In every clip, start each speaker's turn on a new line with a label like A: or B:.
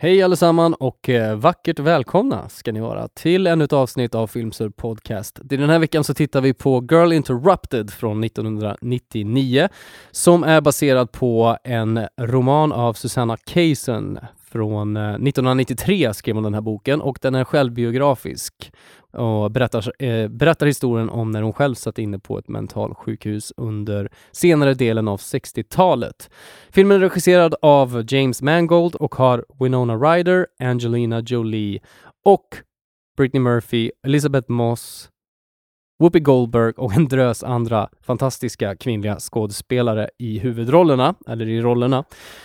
A: Hej allesamman och eh, vackert välkomna ska ni vara till ännu ett avsnitt av Filmsur Podcast. I Den här veckan så tittar vi på Girl Interrupted från 1999 som är baserad på en roman av Susanna Kaysen från eh, 1993 skrev hon den här boken och den är självbiografisk och berättar, eh, berättar historien om när hon själv satt inne på ett mentalsjukhus under senare delen av 60-talet. Filmen är regisserad av James Mangold och har Winona Ryder, Angelina Jolie och Britney Murphy, Elizabeth Moss, Whoopi Goldberg och en drös andra fantastiska kvinnliga skådespelare i huvudrollerna, eller i rollerna.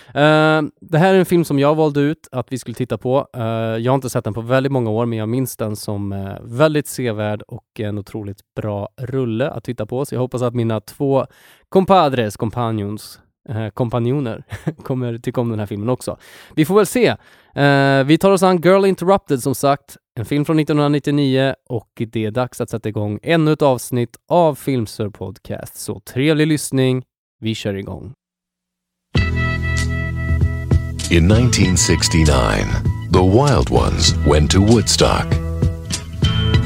A: Eh, det här är en film som jag valde ut att vi skulle titta på. Eh, jag har inte sett den på väldigt många år, men jag minns den som eh, väldigt sevärd och en otroligt bra rulle att titta på. Så jag hoppas att mina två compadres, companions, eh, kompanjoner kommer tycka om den här filmen också. Vi får väl se. Eh, vi tar oss an Girl Interrupted som sagt, en film från 1999 och det är dags att sätta igång ännu ett avsnitt av Filmsur Podcast. Så trevlig lyssning. Vi kör igång.
B: In 1969, the wild ones went to Woodstock.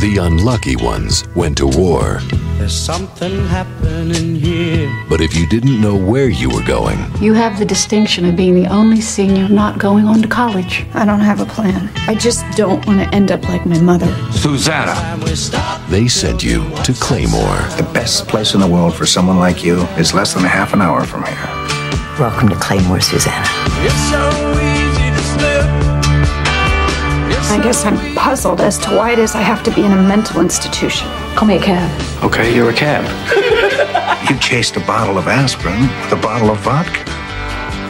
B: The unlucky ones went to war.
C: There's something happening here.
B: But if you didn't know where you were going,
D: You have the distinction of being the only senior not going on to college.
E: I don't have a plan. I just don't want to end up like my mother.
F: Susanna.
C: And we stop
B: they sent you to Claymore.
G: The best place in the world for someone like you is less than a half an hour from here.
H: Welcome to Claymore, Susanna.
C: It's so easy to slip.
E: I guess I'm puzzled as to why it is I have to be in a mental institution.
D: Call me a cab.
F: Okay, you're a cab.
G: You chased a bottle of aspirin with a bottle of vodka.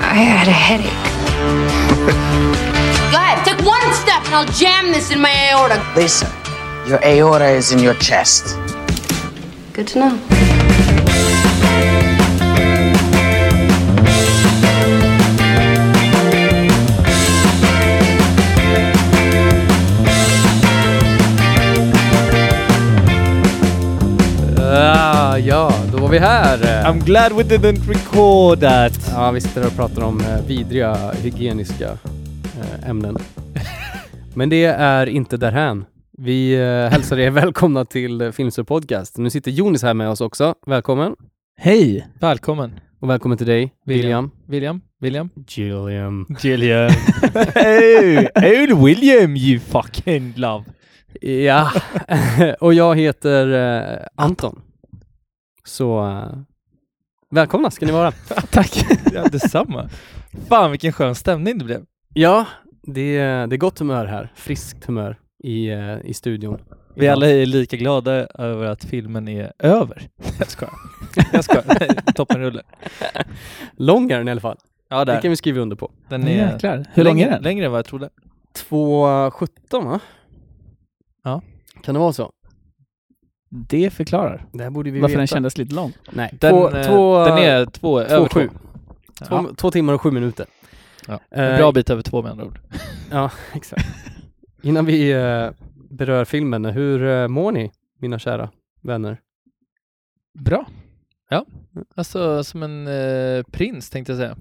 E: I had a headache.
I: Go ahead, take one step and I'll jam this in my aorta.
H: Lisa, your aorta is in your chest.
D: Good to know.
A: Ah, ja, då var vi här.
J: I'm glad we didn't record that.
A: Ja, vi sitter här och pratar om eh, vidriga hygieniska eh, ämnen. Men det är inte därhän. Vi eh, hälsar er välkomna till eh, Filmsur Podcast. Nu sitter Jonis här med oss också. Välkommen.
J: Hej! Välkommen.
A: Och välkommen till dig, William.
J: William? William?
A: William.
J: William. hey, old eh, William you fucking love.
A: Ja, och jag heter eh, Anton. Så eh, välkomna ska ni vara.
J: Tack. ja, detsamma. Fan vilken skön stämning det blev.
A: Ja, det, är- det är gott humör här. Friskt humör i, eh, i studion.
J: Vi alla är lika glada över att filmen är över. Jag skojar. Jag skojar. Toppenrulle.
A: Lång är den i alla fall.
J: Ja,
A: Det kan
J: där.
A: vi skriva under på.
J: Den är
K: Hur lång
J: längre,
K: är den?
J: Längre än vad jag trodde.
A: 2.17 va?
J: Ja.
A: Kan det vara så?
K: Det förklarar
A: Det här borde vi
K: varför
A: veta.
K: den kändes lite lång.
A: Nej,
J: Den,
A: två,
J: eh,
A: två,
J: den är två,
A: två,
J: över
A: sju.
J: två.
A: två, två timmar och sju minuter.
J: Ja.
A: Eh,
J: En bra bit över två med andra ord.
A: Ja, exakt. Innan vi eh, berör filmen, hur eh, mår ni, mina kära vänner?
J: Bra. Ja, alltså som en eh, prins tänkte jag säga.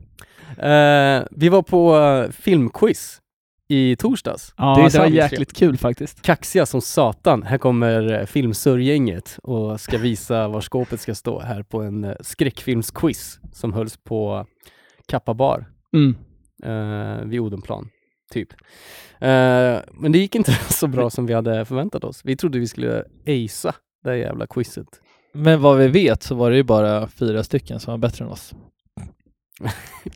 A: Eh, vi var på eh, filmquiz i torsdags.
K: Ja,
A: Det är
K: det,
A: så
K: var
A: vi ser.
K: jäkligt kul faktiskt.
A: Kaxiga som satan. Här kommer eh, filmsurgänget och ska visa var skåpet ska stå här på en eh, skräckfilmsquiz som hölls på Kappa bar
K: Mm.
A: eh, vid Odenplan, typ. Eh, men det gick inte så bra som vi hade förväntat oss. Vi trodde vi skulle acea det här jävla quizet.
J: Men vad vi vet så var det ju bara fyra stycken som var bättre än oss.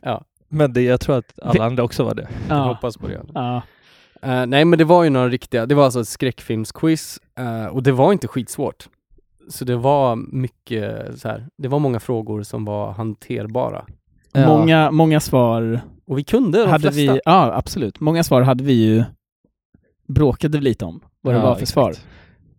A: Ja.
J: Men det, jag tror att alla andra också var det.
A: Jag
K: Ja.
A: hoppas på det.
K: Ja.
A: Eh, nej, men det var ju några riktiga, det var alltså ett skräckfilmsquiz eh, och det var inte skitsvårt. Så det var mycket så här, det var många frågor som var hanterbara.
K: Många, många svar
A: Och vi kunde de
K: hade
A: flesta.
K: vi, ja absolut, många svar hade vi ju bråkade vi lite om vad det
J: Ja,
K: var för
J: exakt.
K: svar.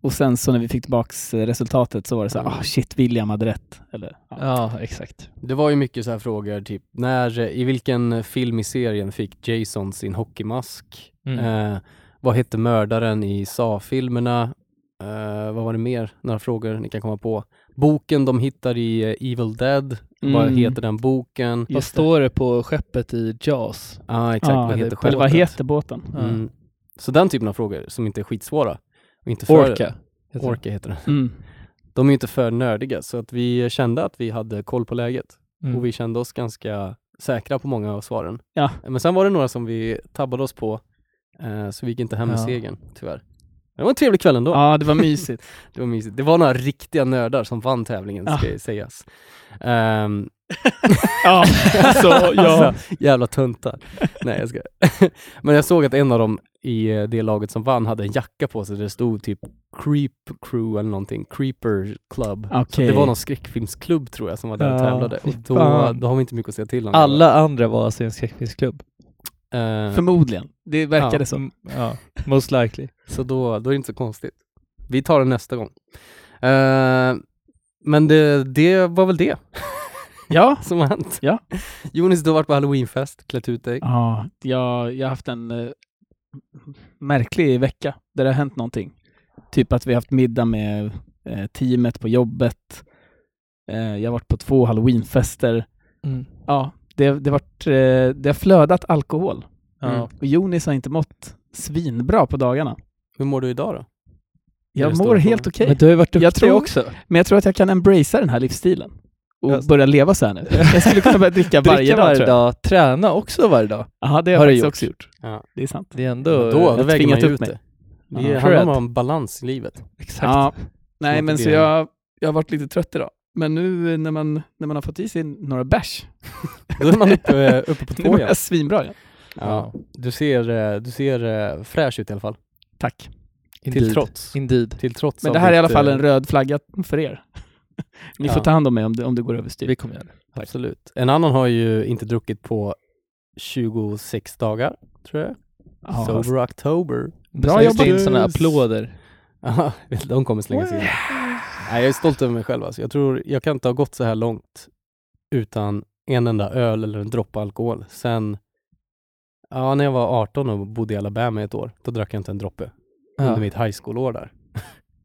K: Och sen så när vi fick tillbaks eh, resultatet så var det så här, ah shit, William hade rätt. Eller, ja.
J: Ja, exakt.
A: Det var ju mycket så här frågor, typ när, eh, i vilken film i serien fick Jason sin hockeymask?
J: Mm.
A: Eh, vad hette mördaren i Saw-filmerna? Eh, vad var det mer? Några frågor ni kan komma på. Boken de hittar i eh, Evil Dead. Vad
J: Mm.
A: heter den boken?
J: Vad står det på skeppet i Jaws?
A: Ja, ah, exakt.
K: Ja,
A: vad
J: eller
A: heter
K: Eller vad
A: skeppet?
K: heter båten?
J: Ja.
A: Mm. Så den typen av frågor som inte är skitsvåra. Och inte för,
J: Orca. heter
A: Orca heter den.
K: Mm.
A: De är ju inte för nördiga, så att vi kände att vi hade koll på läget.
J: den. Mm.
A: Och vi kände oss ganska säkra på många av svaren.
K: Ja.
A: Men sen var det några som vi tabbade oss på, eh, så vi gick inte hem med
J: Ja.
A: segern, tyvärr. Men det var en trevlig kväll ändå.
K: Ja, det var mysigt.
A: Det var mysigt. Det var några riktiga nördar som vann tävlingen, ska
K: Ja.
A: ju sägas. Ehm,
K: ja, alltså, ja.
A: Alltså, jävla tuntar. Nej, jag ska. Men jag såg att en av dem i eh, det laget som vann hade en jacka på sig där det stod typ Creep Crew eller någonting, Creeper Club. Så
K: Okej.
A: det var någon skräckfilmsklubb tror jag som var där och
J: Ja,
A: tävlade. Och
J: fy
A: då,
J: fan.
A: då har vi inte mycket att säga till om.
J: Alla andra var alltså i en skräckfilmsklubb.
A: Eh,
K: Förmodligen. Det verkade
A: Ja.
K: så.
J: Mm, Ja, most likely.
A: så då, då är det inte så konstigt. Vi tar det nästa gång. Eh, men det, det var väl det
K: Ja.
A: som har hänt.
K: Ja.
A: Jonis, du har varit på halloweenfest, klätt ut dig.
K: Ja, jag, jag har haft en eh, märklig vecka där det har hänt någonting. Typ att vi har haft middag med eh, teamet på jobbet. Eh, jag har varit på två halloweenfester.
J: Mm.
K: Ja, det, det, har varit, eh, det har flödat alkohol.
J: Ja.
A: Mm.
K: Och Jonis har inte mått svinbra på dagarna.
A: Hur mår du idag då? är
K: Jag
A: den
K: mår
A: stora
K: helt
A: frågan.
K: okej.
J: Men du har ju varit
K: Jag
J: duktig
K: tror-
J: också.
K: Men jag tror att jag kan embracea den här livsstilen och
J: Just.
K: börja leva så här nu. Jag skulle kunna börja dricka varje
J: Dricka
K: dag,
J: varje
K: tror jag.
J: dag, träna också varje dag.
K: Jaha, det har,
J: Har
K: jag
J: du
K: faktiskt
J: gjort?
K: också gjort.
A: Ja.
K: Det är sant.
J: Det är ändå...
A: då, då
K: jag
A: väger man
K: tvingat
A: ju
K: upp
A: ut
K: mig.
A: det.
K: Ja.
A: Det
J: Cred.
A: handlar om balans i livet.
J: Exakt.
K: Ja. Nej,
A: Låter
K: men
A: det-
K: så jag, jag har varit lite trött idag. Men nu eh, när man, när man har fått i sig några bärs,
A: Då är man uppe, uppe på
K: nu
A: två
K: mår
A: igen.
K: jag svinbra igen.
A: Ja. Du ser, eh, du ser eh, fräsch ut i alla fall.
K: Tack.
A: Till
J: Indeed.
A: trots.
J: Indeed.
A: Till trots
K: Men
A: av
K: det här är i alla
A: ditt,
K: fall
A: eh,
K: en röd flagga för er. Ni
A: Ja.
K: får ta hand om mig om det, om det går överstyr.
J: Vi kommer göra det.
A: Absolut. En annan har ju inte druckit på 26 dagar, tror jag.
K: Ja. alltså,
A: Sober October.
J: Bra jobbat. in
A: jobbat.
J: sådana applåder.
A: Ja, De kommer slängas in. Nej, jag är stolt över mig själv. Alltså. Jag tror jag kan inte ha gått så här långt utan en enda öl eller en droppe alkohol. Sen, ja, när jag var 18 och bodde i Alabama i ett år, då drack jag inte en droppe. under mitt high school-år där.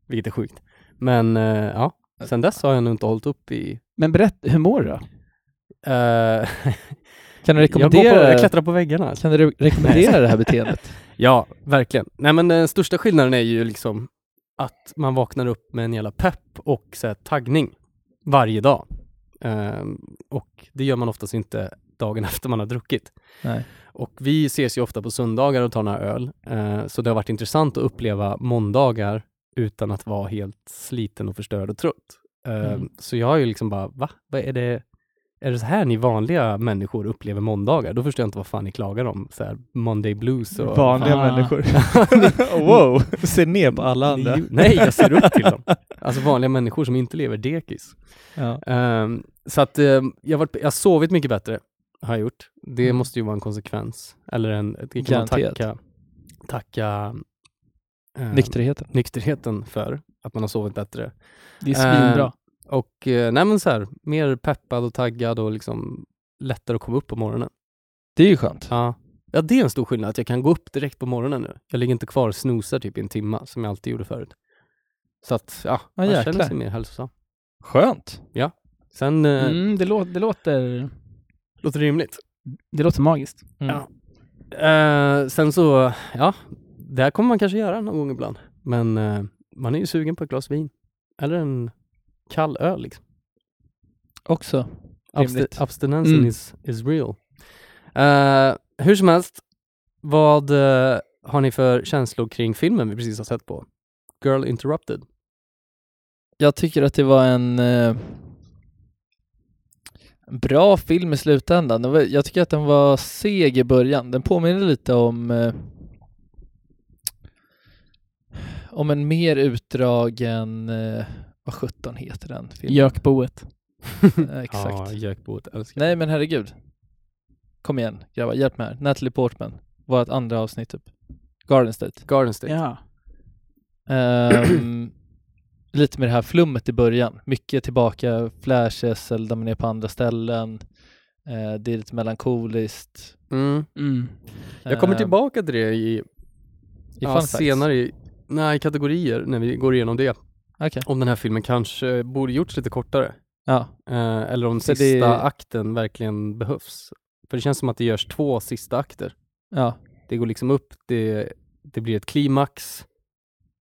A: Vilket är sjukt. Men eh, ja, sen dess har jag nog inte hållit upp i...
K: Men berätta, hur mår du då?
A: eh,
J: Kan du
A: jag, går på,
J: rekommendera,
A: jag klättrar på väggarna. alltså.
J: kan du rekommendera det här beteendet?
A: Ja, verkligen. Nej men den största skillnaden är ju liksom att man vaknar upp med en jävla pepp och så här, taggning varje dag. Ehm, och det gör man oftast inte dagen efter man har druckit.
J: Nej.
A: Och vi ses ju ofta på söndagar och tar några öl, eh, så det har varit intressant att uppleva måndagar utan att vara helt sliten och förstörd och trött. Ehm,
J: Mm.
A: Så jag har ju liksom bara, va? Vad är det? Är det så här ni vanliga människor upplever måndagar? Då förstår jag inte vad fan ni klagar om. Så här, Monday blues och...
K: Ah.
J: wow, Mm. ser ner på alla andra.
A: Ni- Nej, jag ser upp till dem. Alltså vanliga människor som inte lever dekis.
J: Ja.
A: Ehm, så att ehm, jag, har varit, jag har sovit mycket bättre, har jag gjort. Det
J: Mm.
A: måste ju vara en konsekvens. Eller en, det kan man
J: Garanterat.
A: tacka, tacka ehm,
J: Nykterheten.
A: nykterheten för, att man har sovit bättre.
K: Det är svinbra.
A: Eh, Och eh, nej men så här, mer peppad och taggad och liksom lättare att komma upp på morgonen.
J: Det är ju skönt.
A: Ja. ja, det är en stor skillnad, att jag kan gå upp direkt på morgonen nu. Jag ligger inte kvar och snosar typ i en timma som jag alltid gjorde förut. Så att, ja,
J: Ja,
A: man
J: jäklar.
A: känner sig mer hälsosam.
J: Skönt.
A: Sen eh,
K: mm, det, lå- det, låter,
A: låter det rimligt.
K: det låter magiskt.
J: Mm.
A: Ja. Eh, sen så, ja, det här kommer man kanske göra någon gång ibland. Men eh, man är ju sugen på ett glas vin. Eller en kall öl liksom.
J: Också. Rimligt.
A: Absti- abstinensen
K: Mm.
A: is, is real. Eh, hur som helst, vad eh, har ni för känslor kring filmen vi precis har sett på? Girl Interrupted.
J: Jag tycker att det var en eh, bra film i slutändan. Den var- Jag tycker att den var seg i början. Den påminner lite om eh, om en mer utdragen, eh, vad sjutton heter den filmen?
K: Jökboet.
J: Eh, Exakt.
A: Ja, Jökboet älskar.
J: Nej men herregud. Kom igen grabbar, hjälp mig här. Natalie Portman. Vårt andra avsnitt typ. Garden State.
A: Garden State.
K: Ja.
J: Ehm, lite med det här flummet i början. Mycket tillbaka, flashes eller de är på andra ställen. Eh, det är lite melankoliskt.
A: Mm.
K: Mm.
A: Jag kommer
J: Ehm,
A: tillbaka till det i,
J: i fun
A: ja,
J: facts.
A: senare i, nej, i kategorier när vi går igenom det.
J: Okej.
A: Om den här filmen kanske borde gjorts lite kortare.
J: Ja.
A: Eh, eller om
J: Så det-
A: sista akten verkligen behövs. För det känns som att det görs två sista akter.
J: Ja.
A: Det går liksom upp, det, det blir ett klimax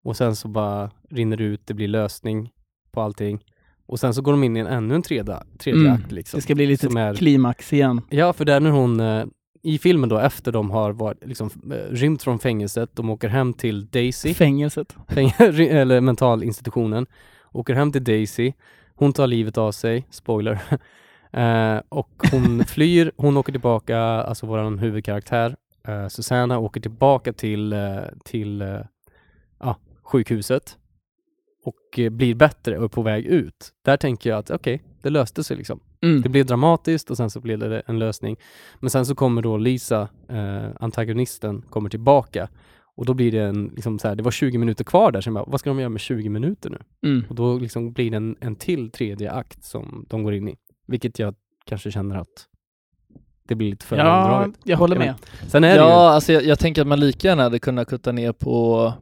A: och sen så bara rinner det ut, det blir lösning på allting. Och sen så går de in i en, ännu en tredje, tredje
K: Mm.
A: akt. Liksom,
K: Det ska bli lite
A: som är-
K: klimax igen.
A: Ja, för där när hon eh, i filmen då efter de har varit, liksom, eh, rymt från fängelset, de åker hem till Daisy,
K: Fängelset.
A: fäng- eller mentalinstitutionen, åker hem till Daisy, hon tar livet av sig, spoiler, eh, och hon flyr, hon åker tillbaka, alltså vår huvudkaraktär, eh, Susanna åker tillbaka till, eh, till eh, ja, sjukhuset och eh, blir bättre och är på väg ut. Där tänker jag att okej, det löste sig liksom.
K: Mm.
J: Mm.
A: Det blev dramatiskt och sen så blev det en lösning. Men sen så kommer då Lisa, eh, antagonisten, kommer tillbaka. Och då blir det en, liksom så här, det var 20 minuter kvar där, så jag bara, vad ska de göra med 20 minuter nu?
K: Mm.
A: Och då liksom blir det en, en till tredje akt som de går in i. Vilket jag kanske känner att det blir lite för
K: Ja,
A: långdraget.
K: jag håller
A: Jag
K: med.
A: Sen är det ju,
J: Ja, alltså jag, jag tänker att man lika gärna hade kunnat kutta ner på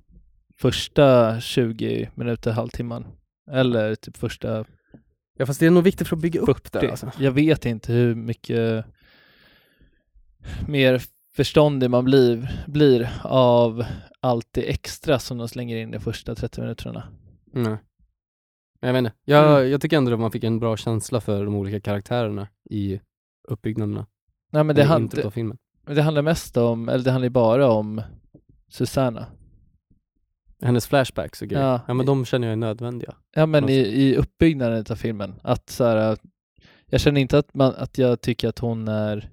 J: första 20 minuter, halvtimman. Eller typ första
A: ja, fast det är nog viktigt för att bygga upp det.
J: 40.
A: Alltså.
J: Jag vet inte hur mycket mer förståndig man blir, blir av allt det extra som de slänger in i första 30 minuterna.
A: Nej. Men Mm. jag vet inte. Jag,
J: Mm.
A: jag tycker ändå att man fick en bra känsla för de olika karaktärerna i uppbyggnaderna.
J: Nej men det,
A: Det i
J: hand,
A: introt av filmen.
J: det, det handlar mest om, eller det handlar ju bara om Susanna.
A: Hennes flashbacks och grejer. Ja.
J: Ja.
A: men de känner jag är nödvändiga.
J: Ja men
A: Något-
J: i, i uppbyggnaden av filmen. Att så här, jag känner inte att, man, att jag tycker att hon är,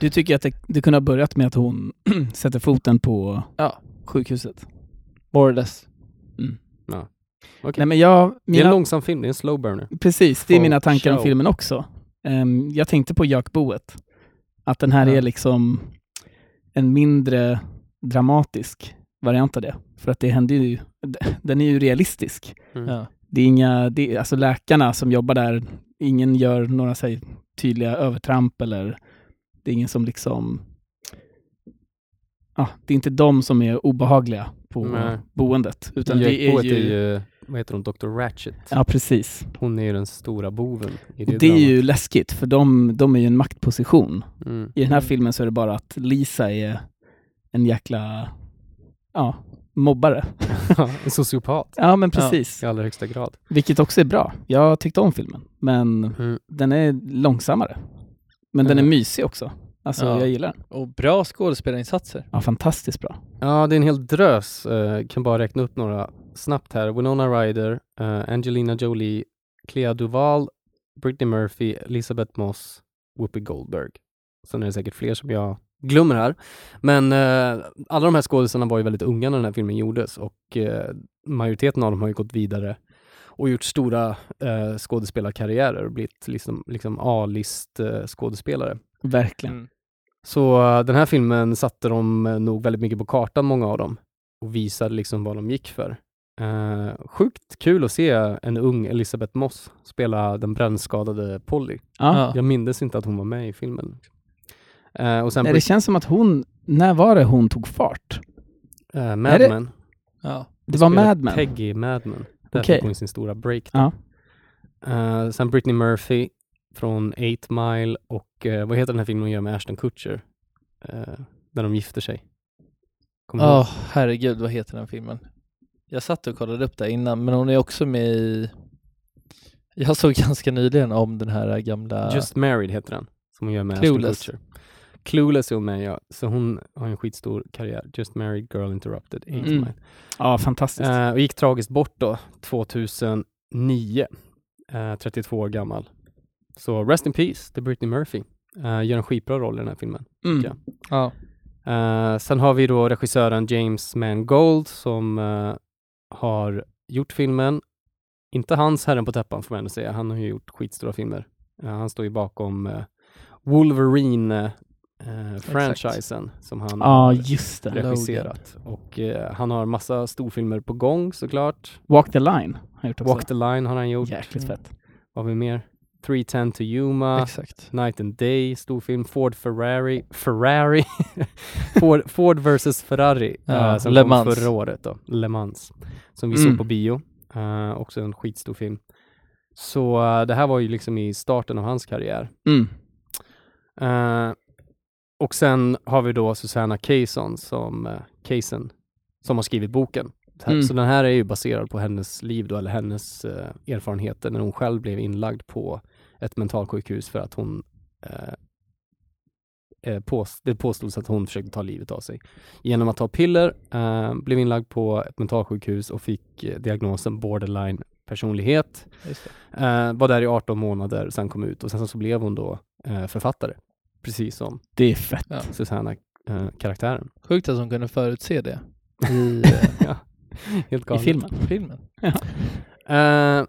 K: Du tycker att det, det kunde ha börjat med att hon sätter foten på
J: ja,
K: sjukhuset? Mm.
J: more or less.
A: Okej.
K: Nej men jag...
A: Det är en
K: Mina,
A: långsam film, det är en slow burner.
K: precis, det är mina tankar om
A: show.
K: filmen också. Ehm, jag tänkte på Jakboet. Att den här
J: Ja.
K: är liksom en mindre dramatisk variant av det. För att det händer ju... Den är ju realistisk.
A: Mm.
J: Ja.
K: Det är inga, det är, alltså läkarna som jobbar där, ingen gör några så här, tydliga övertramp eller det är ingen som liksom... Ja, det är inte de som är obehagliga på
A: Nej.
K: boendet. Utan
A: Utan
K: det är ju,
A: eh, vad heter hon, Dr. Ratchet.
K: Ja, precis.
A: Hon är ju den stora boven i
K: Det,
A: det,
K: det är
A: dramat.
K: ju läskigt, för de, de är ju en maktposition.
A: Mm.
K: I den här filmen så är det bara att Lisa är en jäkla ja, mobbare.
A: en sociopat
K: Ja, men precis.
A: i allra högsta grad.
K: Vilket också är bra. Jag tyckte om filmen, men
A: Mm.
K: den är långsammare. Men den är
J: Mm.
K: mysig också. Alltså
J: Ja.
K: jag gillar den.
J: Och bra skådespelarinsatser.
K: Ja, fantastiskt bra.
A: Ja, det är en hel drös. Eh, kan bara räkna upp några snabbt här. Winona Ryder, eh, Angelina Jolie, Clea Duval, Britney Murphy, Elisabeth Moss, Whoopi Goldberg. Sen är det säkert fler som jag glömmer här. Men eh, alla de här skådespelarna var ju väldigt unga när den här filmen gjordes och eh, majoriteten av dem har ju gått vidare och gjort stora eh, skådespelarkarriärer och blivit liksom, liksom A-list eh, skådespelare.
K: Verkligen.
J: Mm.
A: Så eh, den här filmen satte de eh, nog väldigt mycket på kartan, många av dem, och visade liksom vad de gick för. Eh, sjukt kul att se en ung Elisabeth Moss spela den brännskadade Polly.
K: Ja.
J: Ja.
A: Jag mindes inte att hon var med i filmen. Eh, och sen
K: Nej, det känns som att hon, när var det hon tog fart?
A: eh,
K: är
A: Mad
K: det-
A: Men.
J: Ja.
K: Det var
A: Spelar
K: Mad Men.
A: Peggy i Mad Men. Där
K: Okej.
A: fick hon sin stora break.
K: Ja.
A: Eh, sen Britney Murphy från 8 Mile och eh, vad heter den här filmen hon gör med Ashton Kutcher? Eh, där de gifter sig. Kommer du
J: Åh,
A: ihåg?
J: herregud, vad heter den filmen? Jag satt och kollade upp det innan, men hon är också med i... Jag såg ganska nyligen om den här gamla...
A: Just Married heter den, som hon gör med
J: Clueless.
A: Ashton Kutcher. Clueless är hon med ja. Så hon har en skitstor karriär. Just Married, Girl Interrupted, Eight
K: Mm.
A: Mile.
K: Ja, fantastiskt.
A: Eh, och gick tragiskt bort då, 2009. Eh, 32 år gammal. Så Rest in Peace till Britney Murphy. Eh, gör en skitbra roll i den här filmen.
K: Mm.
A: ja.
J: Ja.
A: Eh, sen har vi då regissören James Mangold som eh, har gjort filmen. Inte hans Herren på täppan får man ändå säga. Han har ju gjort skitstora filmer. Eh, han står ju bakom eh, Wolverine-franchisen som han
K: Ja,
A: har
K: just det.
A: regisserat. Och eh, han har massa storfilmer på gång såklart.
K: Walk the line har jag gjort också.
A: Walk the line har han gjort.
K: Jäkligt fett.
A: Vad har vi mer? 310 to Yuma.
J: Exakt.
A: Night and Day, storfilm, Ford Ferrari, Ferrari, Ford, Ford versus Ferrari,
J: Ja,
A: eh, som
J: Le
A: kom
J: Mans.
A: förra året då, Le Mans, som vi
K: Mm.
A: såg på bio, Eh, också en skitstor film. Så eh, det här var ju liksom i starten av hans karriär.
K: Mm.
A: Eh, och sen har vi då Susanna Kayson som, eh, Kaysen, som har skrivit boken. Så här-
K: Mm.
A: Så den här är ju baserad på hennes liv då, eller hennes eh, erfarenheter när hon själv blev inlagd på ett mentalsjukhus för att hon eh, eh, pås- det påstods att hon försökte ta livet av sig. Genom att ta piller eh, blev inlagd på ett mentalsjukhus och fick eh, diagnosen borderline personlighet.
J: Just det.
A: Eh, var där i 18 månader, sen kom ut och sen så blev hon då eh, författare. Precis som eh,
K: Det är fett.
J: Ja.
A: Susanna-karaktären.
J: Sjukt att hon kunde förutse det
A: I, ja, helt
K: eh, I
A: galet.
K: filmen.
J: i filmen.
A: Eh,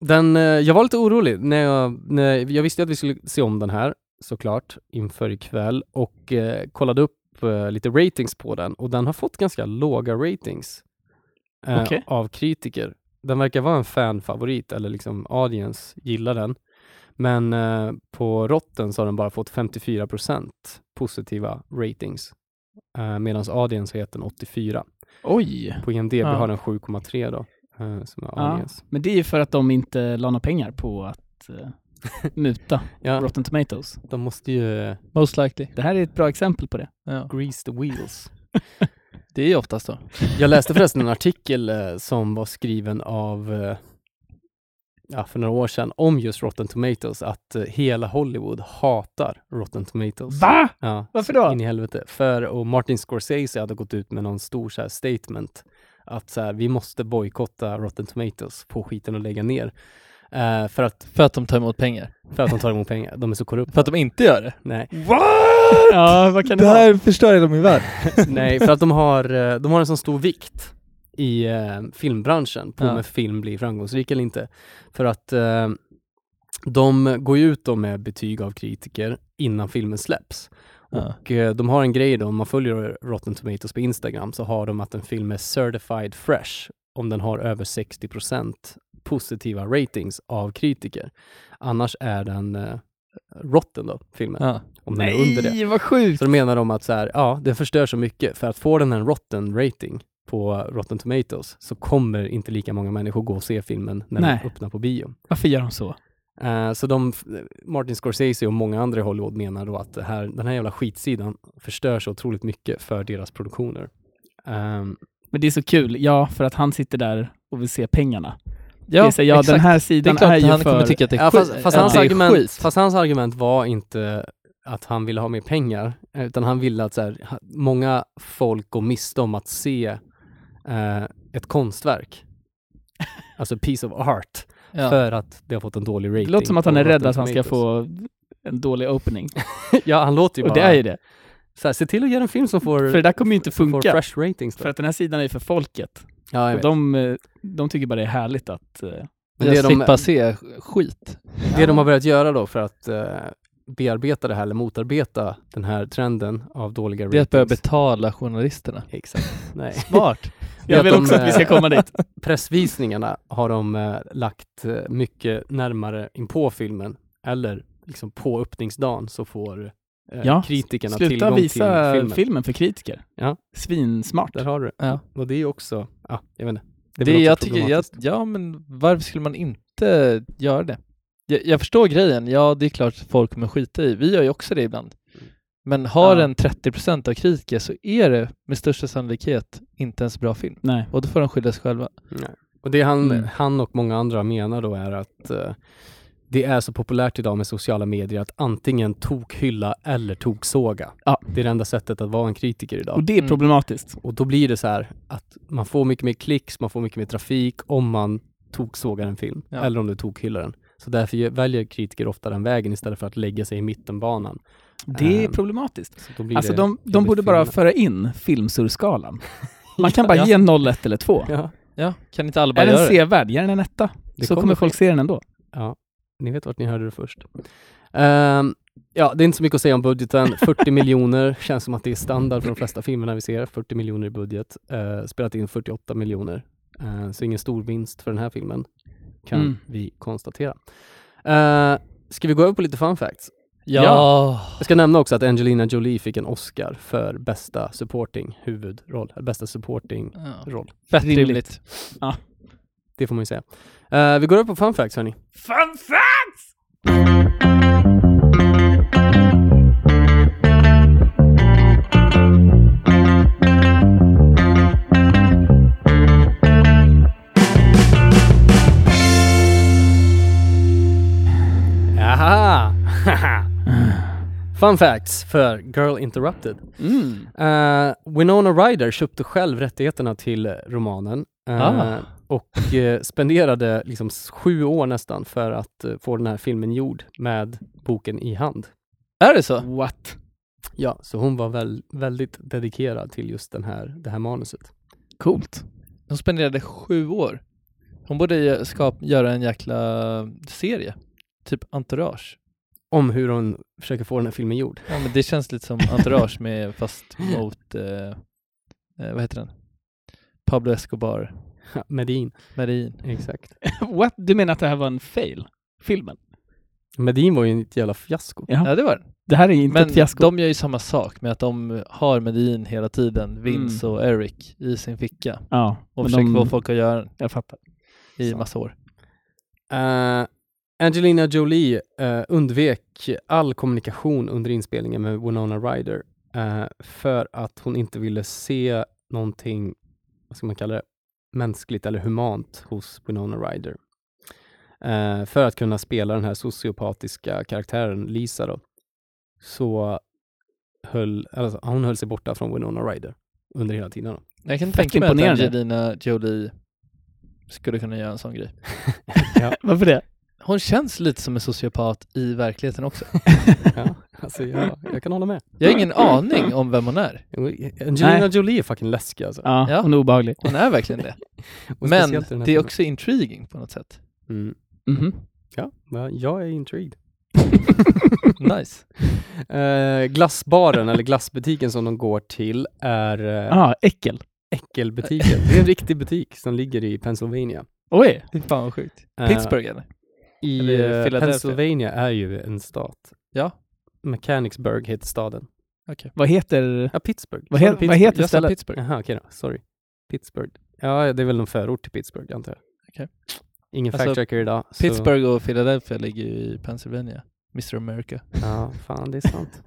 A: den, eh, jag var lite orolig när jag, när jag visste att vi skulle se om den här såklart inför ikväll och eh, kollade upp eh, lite ratings på den och den har fått ganska låga ratings eh,
K: Okej.
A: av kritiker. Den verkar vara en fanfavorit eller liksom audience gillar den. Men eh, på Rotten så har den bara fått 54 procent positiva ratings eh, medan audience har gett den 84.
K: Oj!
A: På E IMDB
K: Ja.
A: har den 7,3 då eh, som är
K: Ja.
A: audience.
K: Men det är ju för att de inte la några pengar på att eh, muta
A: Ja.
K: Rotten Tomatoes.
A: De måste ju eh,
J: Most likely.
K: Det här är ett bra exempel på det.
J: Ja.
A: grease the wheels.
J: Det är ju oftast då.
A: Jag läste förresten en artikel eh, som var skriven av eh, ja, för några år sedan om just Rotten Tomatoes, att eh, hela Hollywood hatar Rotten Tomatoes.
K: Va?
A: Ja,
K: Varför
A: så
K: då?
A: In i helvete. För, och Martin Scorsese hade gått ut med någon stor så här, statement att så här, vi måste bojkotta Rotten Tomatoes, på skiten och lägga ner. Eh, för, att,
J: För att de tar emot pengar.
A: för att de tar emot pengar. De är så korrupta.
J: För att de inte gör det.
A: Nej.
K: Ja, vad kan det,
J: Det
K: vara?
J: här förstör hela min värld.
A: Nej, för att de har, eh, de har en sån stor vikt i eh, filmbranschen på
J: Ja.
A: om en film blir framgångsrik eller inte. För att eh, de går ju ut då med betyg av kritiker innan filmen släpps.
J: Ja.
A: Och eh, de har en grej då, om man följer Rotten Tomatoes på Instagram så har de att en film är certified fresh om den har över 60 positiva ratings av kritiker. Annars är den eh, rotten då, filmen,
J: Ja.
A: om den är under det.
K: vad sjukt!
A: Så då menar de att så här, ja, den förstör så mycket, för att få den en rotten rating på Rotten Tomatoes så kommer inte lika många människor gå och se filmen när
K: Nej.
A: den öppnar på bio.
K: Varför gör de så?
A: Eh, så de, Martin Scorsese och många andra i Hollywood menar då att det här, den här jävla skitsidan förstör så otroligt mycket för deras produktioner. Ehm,
K: Men det är så kul. Ja, för att han sitter där och vill se pengarna.
J: Ja,
K: det är så, här, ja den här
J: det är
K: sidan
J: klart
K: är
J: att
K: ju
J: han
K: för...
J: kommer tycka att det är
A: ja,
J: skit.
A: fast, fast,
J: att
A: hans
J: det är
A: argument,
J: skit.
A: fast hans argument var inte att han ville ha mer pengar, eh, utan han ville att så här, ha- många folk går miste om att se eh, ett konstverk. Alltså piece of art.
J: Ja.
A: För att det har fått en dålig rating.
K: det låter som att han
A: på
K: är rädd
A: Rotten
K: att han ska
A: Tomatoes.
K: få en dålig opening.
A: ja, han låter ju
K: Och
A: bara...
K: det är ju det.
A: Så här, se till att göra en film som får,
K: För det där kommer ju inte
A: får
K: funka.
A: fresh ratings. Då.
K: För att den här sidan är ju för folket.
A: ja, jag
K: Och
A: vet.
K: de, eh, de tycker bara det är härligt att... eh,
A: Men
J: Jag
A: det de-
J: slipper se skit.
A: Det de har börjat göra då för att eh, bearbeta det här, eller motarbeta den här trenden av dåliga
J: Det är
A: ratings.
J: att börja betala journalisterna.
A: Exakt. Nej.
J: Smart.
A: Det är
K: Jag vill
A: att de,
K: också att vi ska
A: eh,
K: komma dit.
A: pressvisningarna har de eh, lagt eh, mycket närmare in på filmen eller liksom på öppningsdagen så får eh,
K: Ja,
A: kritikerna
K: Sluta
A: tillgång
K: visa
A: till filmen.
K: filmen för kritiker.
A: Ja.
K: Svinsmart.
A: Där har du det.
J: Ja.
A: Och det är också, ja, jag vet inte.
J: Det
A: är väl också
J: jag tycker, jag,
A: problematiskt.
J: ja men varför skulle man inte göra det? Jag, jag förstår grejen, ja det är klart att folk kommer skita i, vi gör ju också det ibland. Men har
K: Ja.
J: en 30% av kritiker så är det med största sannolikhet inte ens bra film.
K: Nej.
J: Och då får de skylla sig själva.
A: Och det han,
K: Mm.
A: han och många andra menar då är att eh, det är så populärt idag med sociala medier att antingen tokhylla eller toksåga.
K: Ja.
A: Det är det enda sättet att vara en kritiker idag.
K: Och det är
J: Mm.
K: problematiskt.
A: Och då blir det så här att man får mycket mer klicks, man får mycket mer trafik om man toksågar en film
J: Ja.
A: eller om du tokhyllar den. Så därför ju- väljer kritiker ofta den vägen istället för att lägga sig i mittenbanan.
K: Det är
A: Ehm,
K: problematiskt.
A: Så då blir
K: Alltså
A: det
K: de, de
A: jobbigt
K: borde
A: för
K: bara
A: filmerna.
K: föra in filmsurskalan. Man kan
A: Ja,
K: bara
A: ja.
K: ge en 0, 1 eller 2.
A: Ja,
J: Ja, kan inte alla bara
K: Är den
J: göra det?
K: sevärd, ge den en etta.
A: Det
K: Så
A: kommer
K: kommer folk se den ändå.
A: ni vet vart ni hörde det först. Ehm, ja, det är inte så mycket att säga om budgeten. 40 miljoner känns som att det är standard för de flesta filmerna vi ser. 40 miljoner i budget. Eh, spelat in 48 miljoner. Eh, så ingen stor vinst för den här filmen kan
K: Mm.
A: vi konstatera. Eh, ska vi gå över på lite fun facts?
J: Ja.
A: Jag ska nämna också att Angelina Jolie fick en Oscar för bästa supporting huvudroll, eller bästa supporting
J: ja.
A: roll.
J: Fett
K: Rimligt.
J: rimligt.
A: Det får man ju säga. Eh, vi går upp på fun facts hörni.
J: Fun fact!
A: Jaha! fun facts för Girl Interrupted.
K: Mm.
A: Eh, Winona Ryder köpte själv rättigheterna till romanen eh,
J: Ah.
A: och eh, spenderade liksom s- sju år nästan för att eh, få den här filmen gjord med boken i hand.
J: Är det så?
K: What?
A: Ja, så hon var väl, väldigt dedikerad till just den här, det här manuset.
K: Coolt.
J: Hon spenderade sju år. Hon borde ju skap- göra en jäkla serie. Typ Entourage.
A: Om hur hon försöker få den här filmen gjord.
J: Ja, men det känns lite som Entourage med, fast mot, eh, eh, vad heter den? Pablo Escobar,
A: Medin.
J: Medin.
A: Exakt.
K: What? Du menar att det här var en fail? Filmen?
A: Medin var ju ett jävla fiasko.
K: Ja.
J: Ja, det var den.
K: Det här är inte
J: Men
K: ett fiasko.
J: de gör ju samma sak med att de har Medin hela tiden, Vince
K: Mm.
J: och Eric, i sin ficka
K: Ja,
J: och
K: men
J: försöker
K: de-
J: få folk att göra den
K: Jag fattar.
J: i
K: Så.
J: massa år.
A: Eh, Angelina Jolie eh, undvek all kommunikation under inspelningen med Winona Ryder eh, för att hon inte ville se någonting, vad ska man kalla det, mänskligt eller humant hos Winona Ryder. Eh, för att kunna spela den här sociopatiska karaktären Lisa då, så höll, alltså, hon höll sig borta från Winona Ryder under hela tiden. Då.
J: Jag kan
K: Fett
J: tänka mig att
K: imponerande.
J: Angelina Jolie skulle kunna göra en sån grej.
K: Varför det?
J: Hon känns lite som en sociopat i verkligheten också.
A: Ja, alltså, jag, jag kan hålla med.
J: Jag har ingen aning om vem hon är.
A: Angelina
K: Nej.
A: Jolie är fucking läskig alltså.
K: Ja,
J: Ja.
K: hon är obehaglig.
J: Hon är verkligen det.
A: Och
J: Men
A: speciellt i den här
J: det är
A: filmen.
J: också intriguing på något sätt.
A: Mm.
K: Mhm.
A: Ja, men jag är intrigued.
J: Nice.
A: Eh, glassbaren, eller glassbutiken som de går till, är eh,
K: Ah, äckel.
A: Äckelbutiken. Det är en riktig butik som ligger i Pennsylvania.
K: Oj!
J: Fy fan vad sjukt.
A: Eh,
J: Pittsburgh eller?
A: I
J: eller
A: eh,
J: Philadelphia.
A: Pennsylvania är ju en stat.
J: Ja.
A: Mechanicsburg heter staden.
K: Vad heter...
A: Ja, Pittsburgh.
K: Vad
A: Sa
K: he-
A: du
K: vad
A: Pittsburgh?
K: heter
J: Jag sa
K: stället?
J: Pittsburgh.
A: Jaha, okej då. Sorry. Pittsburgh. Ja, det är väl någon förort till Pittsburgh, antar jag.
J: Okej.
A: Ingen
J: Alltså,
A: fact-checker idag. så-
J: Pittsburgh och Philadelphia ligger ju i Pennsylvania. Mr America.
A: Ja, fan det är sant.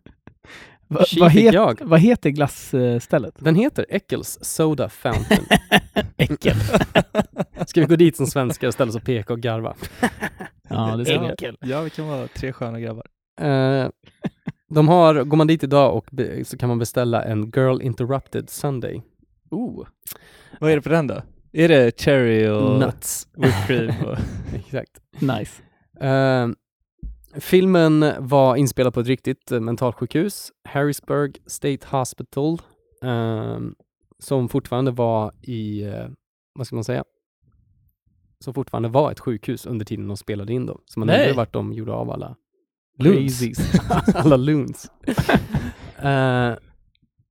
K: Va,
A: Tji
K: vad,
A: fick
K: het,
A: jag.
K: vad heter glassstället?
A: Den heter Eccles Soda Fountain.
K: Äckel.
A: Ska vi gå dit som svenskar och ställa oss och peka och garva?
K: ja, det ska vi.
J: Ja, vi kan vara tre sköna grabbar.
A: Eh, de har, går man dit idag och be, så kan man beställa en Girl Interrupted Sunday.
J: Oh. Vad är det på den då? Är det cherry och
A: Nuts.
J: whipped cream? Och...
A: Exakt.
K: Nice.
A: Eh, filmen var inspelad på ett riktigt eh, mentalsjukhus, Harrisburg State Hospital, ehm, som fortfarande var i, eh, vad ska man säga, som fortfarande var ett sjukhus under tiden de spelade in dem. Så man
J: Nej.
A: undrar vart de gjorde av alla
J: Loons.
A: crazies. alla loons. Eh,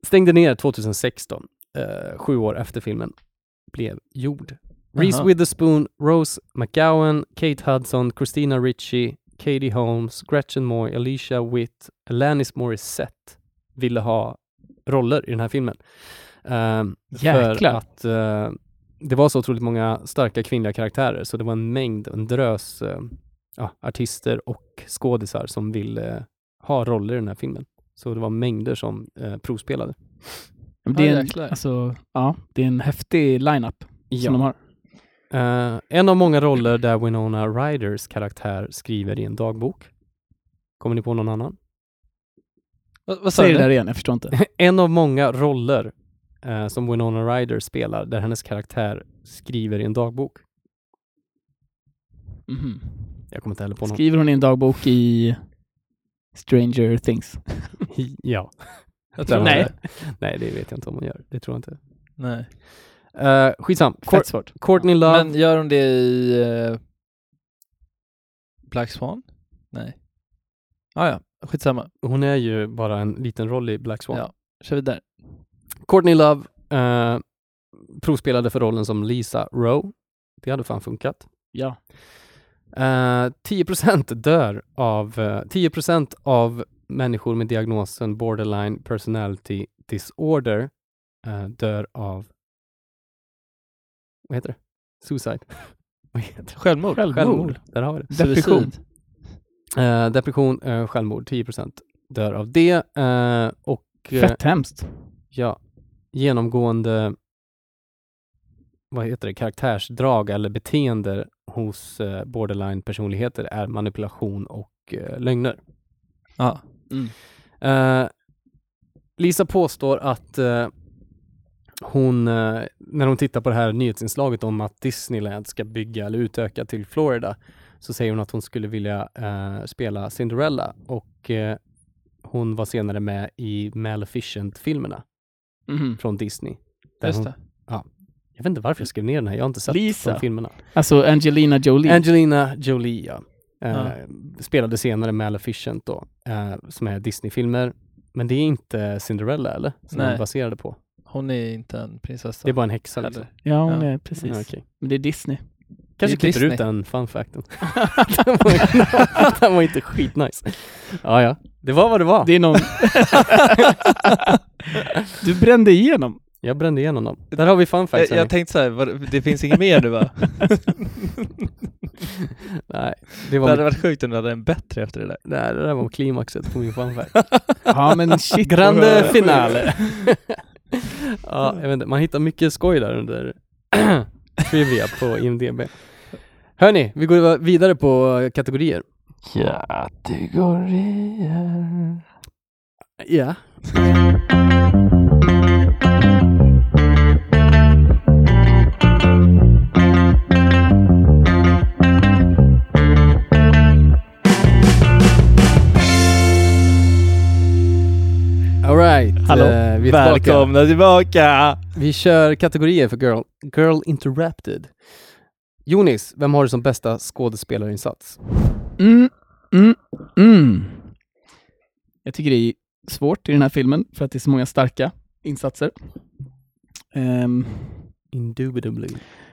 A: stängde ner 2016, eh, sju år efter filmen blev gjord. Reese
J: Aha.
A: Witherspoon, Rose McGowan, Kate Hudson, Christina Ricci, Katie Holmes, Gretchen Moy, Alicia Witt, Alanis Morissette ville ha roller i den här filmen. Ehm, för
K: Jäklar.
A: att eh, det var så otroligt många starka kvinnliga karaktärer, så det var en mängd, en drös eh, ja, artister och skådisar som ville eh, ha roller i den här filmen. Så det var mängder som eh, provspelade.
K: Men Det
J: Ja,
K: är, en,
J: jäklar.
K: alltså, ja, det är en häftig line-up som de har.
A: Eh, en av många roller där Winona Ryders karaktär skriver i en dagbok. Kommer ni på någon annan?
J: Vad, vad sa
K: Säg
J: du?
K: det där
J: nu?
K: igen, jag förstår inte.
A: En av många roller eh, som Winona Ryder spelar där hennes karaktär skriver i en dagbok.
K: Mhm.
A: Jag kommer inte heller på någon.
K: Skriver hon i en dagbok i Stranger Things?
A: ja.
J: Jag
A: Där
J: tror
A: har
J: Nej.
A: vi det. Nej, det vet jag inte om hon gör. Det tror jag inte.
J: Nej.
A: Uh, skitsam. Cour-
K: Fett svårt.
A: Courtney Love.
J: Men gör de det i eh, Black Swan? Nej. Ah, ja, skitsamma.
A: Hon är ju bara en liten roll i Black Swan.
J: Ja. Kör vidare.
A: Courtney Love eh, provspelade för rollen som Lisa Rowe. Det hade fan funkat.
K: Ja.
A: Eh, 10% dör av, eh, 10% av människor med diagnosen borderline personality disorder eh, dör av, vad heter det? Suicide. Vad heter det?
J: Självmord.
K: Självmord.
A: Där har vi det.
K: Depression.
J: Suicid.
A: Eh, depression, eh, självmord, 10% dör av det. Eh, och eh,
K: Fett hemskt.
A: ja, genomgående vad heter det, karaktärsdrag eller beteende hos eh, borderline-personligheter är manipulation och eh, lögner.
J: Ja.
A: Eh, Lisa påstår att eh, hon, eh, när hon tittar på det här nyhetsinslaget om att Disneyland ska bygga eller utöka till Florida, så säger hon att hon skulle vilja eh, spela Cinderella och eh, hon var senare med i Maleficent-filmerna
K: Mhm.
A: från Disney. Där
J: Just
A: hon,
J: det.
A: Jag vet inte varför jag skrev ner den här, jag har inte sett
K: Lisa.
A: de filmerna.
K: Alltså Angelina Jolie.
A: Angelina Jolie, ja. Eh,
J: Ja.
A: Spelade senare Maleficent då, eh, som är Disney-filmer. Men det är inte Cinderella eller? Som
J: Nej.
A: den baserade på.
J: Hon är inte en prinsessa.
A: Det är bara en häxa liksom.
J: Eller-
K: ja, hon
J: Ja.
K: är precis.
A: Ja, okej.
K: Men det är Disney.
A: Kanske
J: Det är
A: klipper ut
J: Disney.
A: den fun facten. den, var, den var inte skitnice. Ja, ja. Det var vad det var.
K: Det är någon... du brände igenom.
A: Jag brände igenom dem. Där har vi fun
J: Jag,
A: facts.
J: jag
A: hörni.
J: tänkte så här, vad- det finns inget mer nu va?
A: Nej, det
J: Det
A: var,
J: hade
A: mitt,
J: varit sjukt om du hade en bättre efter det där.
A: nej, det där var klimaxet på min fun fact.
K: Ja men shit.
A: Grande finale. ja, jag vet inte, man hittar mycket skoj där under trivia på IMDB. Hörni, vi går vidare på eh, kategorier.
J: Kategorier.
A: Ja. Alright,
J: Hallå.
A: eh, vi är tillbaka.
J: Välkomna tillbaka!
A: Vi kör kategorier för Girl, girl Interrupted. Jonis, vem har du som bästa skådespelarinsats?
K: Mm, mm, mm. Jag tycker det är svårt i den här filmen för att det är så många starka insatser. Um,
A: Indubitably.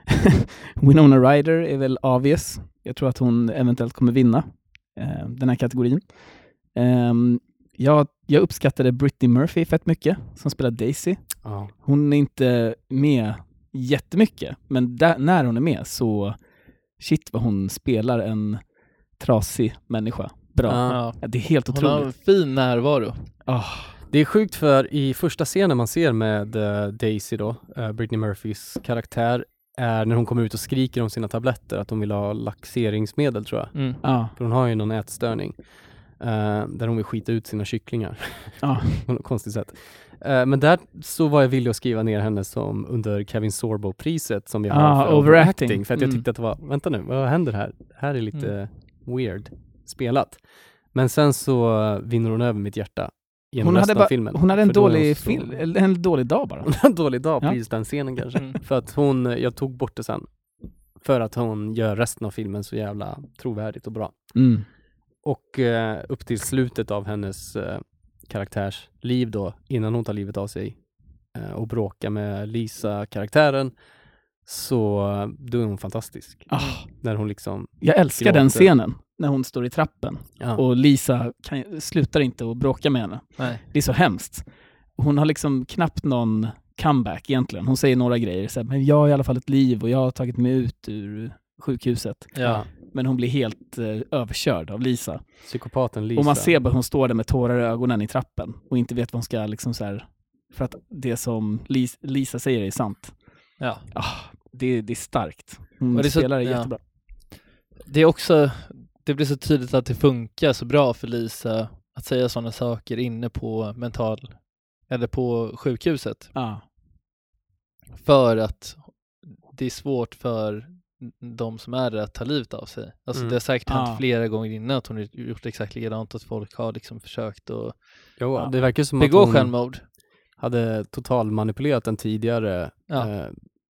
K: Winona Ryder är väl obvious. Jag tror att hon eventuellt kommer vinna eh, den här kategorin. Ehm, jag, jag uppskattade Brittany Murphy fett mycket, som spelar Daisy.
A: Ja.
K: Hon är inte med jättemycket, men där, när hon är med så shit vad hon spelar en trasig människa. Bra.
J: Ja.
K: Ja, Det är helt
J: Hon har en
K: otroligt.
J: fin närvaro.
K: Ah,
A: Det är sjukt för i första scenen man ser med eh, Daisy då, eh, Britney Murphys karaktär, är när hon kommer ut och skriker om sina tabletter, att hon vill ha laxeringsmedel tror jag.
J: Mm.
K: ja.
A: För hon har ju någon ätstörning. eh, där hon vill skita ut sina kycklingar.
K: Ja.
A: På något konstigt sätt. Eh, men där så var jag villig att skriva ner henne som under Kevin Sorbo-priset som vi har
K: Ah,
A: för
K: overacting.
A: För att jag
K: Mm.
A: tyckte att det var, vänta nu, vad händer här? Det här är lite weird spelat. Men sen så eh, vinner hon över mitt hjärta genom
K: Hon,
A: resten
K: hade
A: av
K: bara,
A: filmen.
K: hon hade en
A: För då är
K: dålig,
A: så-
K: film, eller en dålig dag bara.
A: Hon hade en dålig dag
K: Ja.
A: precis den scenen kanske.
J: Mm.
A: För att hon, jag tog bort det sen. För att hon gör resten av filmen så jävla trovärdigt och bra.
K: Mm.
A: Och eh, upp till slutet av hennes eh, karaktärs liv då, innan hon tar livet av sig eh, och bråkar med Lisa-karaktären, så eh, då är hon fantastisk.
K: Ah.
A: När hon liksom,
K: Jag älskar
A: Gråter.
K: den scenen när hon står i trappen
A: ja,
K: och Lisa kan, slutar inte att bråka med henne.
J: Nej.
K: Det är så hemskt. Hon har liksom knappt någon comeback egentligen. Hon säger några grejer, så här, men jag har i alla fall ett liv och jag har tagit mig ut ur sjukhuset.
J: Ja.
K: Men hon blir helt eh, överkörd av Lisa.
A: psykopaten Lisa.
K: Och man ser bara hon står där med tårar i ögonen i trappen och inte vet vad hon ska liksom så här, för att det som Lis- Lisa säger är sant.
J: ja.
K: Ah, det, det är starkt. Hon
J: Och det är så-
K: spelar det
J: ja.
K: jättebra.
J: Det är också, det blir så tydligt att det funkar så bra för Lisa att säga sådana saker inne på mental, eller på sjukhuset.
K: Ja.
J: För att det är svårt för de som är där att ta livet av sig. Alltså
A: Mm.
J: det har säkert hänt
K: Ja.
J: flera gånger innan att hon har gjort exakt likadant, att folk har liksom försökt att
A: Jo,
K: Ja.
A: det verkar som att
J: begå
A: hon
J: självmord.
A: hade totalmanipulerat den tidigare
J: Ja.
A: eh,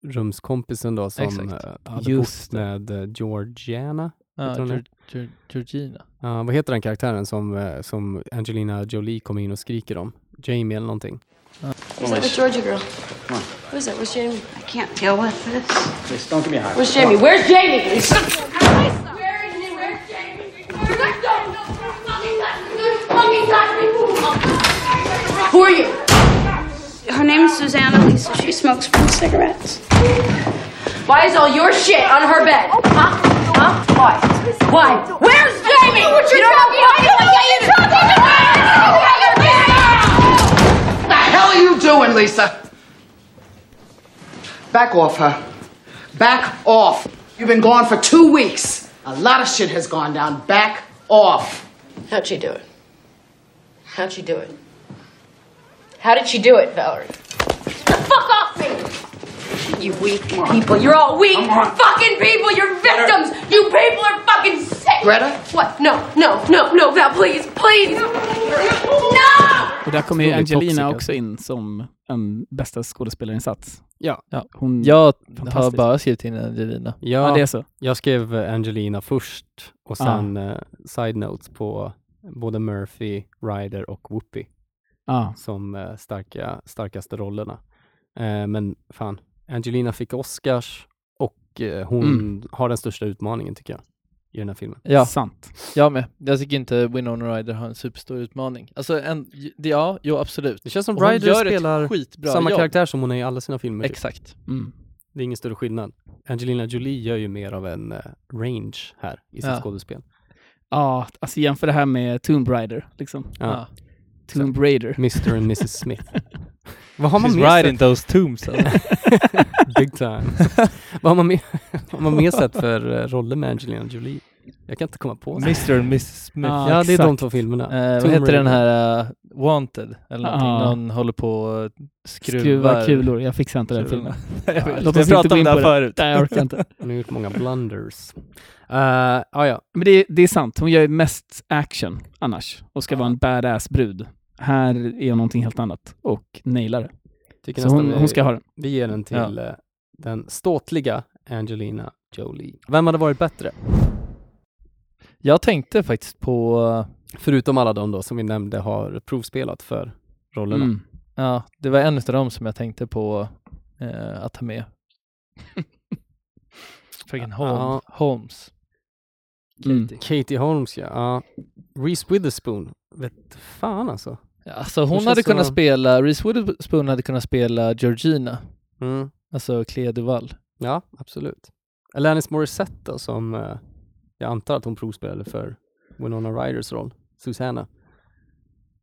A: rumskompisen då som
J: Exakt.
A: eh, hade bott
K: Just
A: med eh, Georgiana.
J: Ja,
A: Vet du vad hon
J: Geor- Geor- Georgina.
A: Ja, vad heter den karaktären som, eh, som Angelina Jolie kommer in och skriker om? Jamie eller någonting.
I: Who's that with Georgia girl? Who's that? Where's Jamie?
E: I can't deal with this.
I: Where's Jamie? Where's Jamie? Where is he? Where's Jamie? Who are you?
E: Her name's Susanna Lisa. She smokes cigarettes.
I: Why is all your shit on her bed? Huh? Huh? Why? Why? Where's Jamie? What you don't talking about? What you talking
F: What the hell are you doing, Lisa? Back off her. Back off. You've been gone for two weeks. A lot of shit has gone down. Back off.
I: How'd she do it? How'd she do it? How did she do it, Valerie? Fuck off me! You weak people. You're all weak fucking people. You're victims. You people are fucking sick.
F: Greta?
I: What? No, no, no, no, Val, please, please. No!
K: Och där kommer ju
J: Otrolig
K: Angelina
J: popsicle.
K: också in som en bästa skådespelarinsats.
A: Ja.
J: Ja.
K: Hon,
J: Jag har
K: Fantastiskt.
J: bara skrivit in Angelina.
A: Ja,
K: ja, det är så.
A: jag skrev eh, Angelina först och
K: Ah.
A: sen eh, side notes på både Murphy, Ryder och Whoopi
K: Ja.
A: som eh, starka, starkaste rollerna. Eh, men fan, Angelina fick Oscars och eh, hon
K: Mm.
A: har den största utmaningen tycker jag i den här filmen.
J: Ja,
K: Sant.
J: jag med. Jag tycker inte Winona Ryder har en superstor utmaning. Alltså, en, j- ja, jo absolut.
A: Det känns som
J: Och hon
A: Ryder
J: gör
A: spelar
J: ett skitbra
A: samma
J: jobb.
A: karaktär som hon är i alla sina filmer. typ.
J: Exakt.
K: Mm.
A: Det är ingen större skillnad. Angelina Jolie gör ju mer av en eh, range här i sitt
J: Ja.
A: skådespel.
K: Ja, alltså jämför det här med Tomb Raider. Liksom.
A: Ja.
J: Ja.
K: Tomb Raider.
A: Mr and Mrs Smith. Vad har man
J: She's
A: mer sett?
J: riding those tombs. Alltså.
A: Big time. Vad har man mer, vad har man mer sett för eh, roller med Angelina Jolie? Jag kan inte komma på. det.
J: Mr and Mrs Smith.
K: Ja,
A: ja, det är de
K: exakt.
A: två filmerna.
J: Eh, vad
A: Tomb
J: heter den
A: Raider.
J: här eh, Wanted? Eller någonting.
K: Ja.
J: Någon håller på och skruvar.
K: Skruva kulor. Jag fixar inte den
J: Kulorna.
K: filmen.
J: Jag
K: Ja,
J: vet.
K: låt
J: Vi
K: oss inte
J: pratade
K: gå
J: om
K: in
J: det här
K: på det.
J: förut.
K: Nej, jag orkar inte.
A: Hon har gjort många blunders. Uh, ah, ja.
K: Men det, det är sant. Hon gör ju mest action annars och ska vara en badass brud. Här är hon någonting helt annat och nailar det.
A: Tycker
K: Så
A: nästan
K: hon,
A: vi,
K: hon ska ha den.
A: vi ger den till
J: Ja.
A: eh, den ståtliga Angelina Jolie. Vem hade varit bättre?
J: Jag tänkte faktiskt på, eh,
A: Förutom alla de då som vi nämnde har provspelat för rollerna.
K: Mm.
J: ja, det var en av dem som jag tänkte på eh, att ta med. Fucking Holm,
A: Ja.
J: Holmes.
K: Mm.
A: Katie Holmes ja. Ja. Reese Witherspoon. Vet fan alltså.
J: Alltså
A: Det
J: hon
A: känns
J: hade kunnat
A: som-
J: spela, Reese Witherspoon hade kunnat spela Georgina,
A: Mm.
J: alltså Clea Duvall.
A: Ja, absolut. Alanis Morissette då, som eh, jag antar att hon provspelade för Winona Ryders roll, Susanna.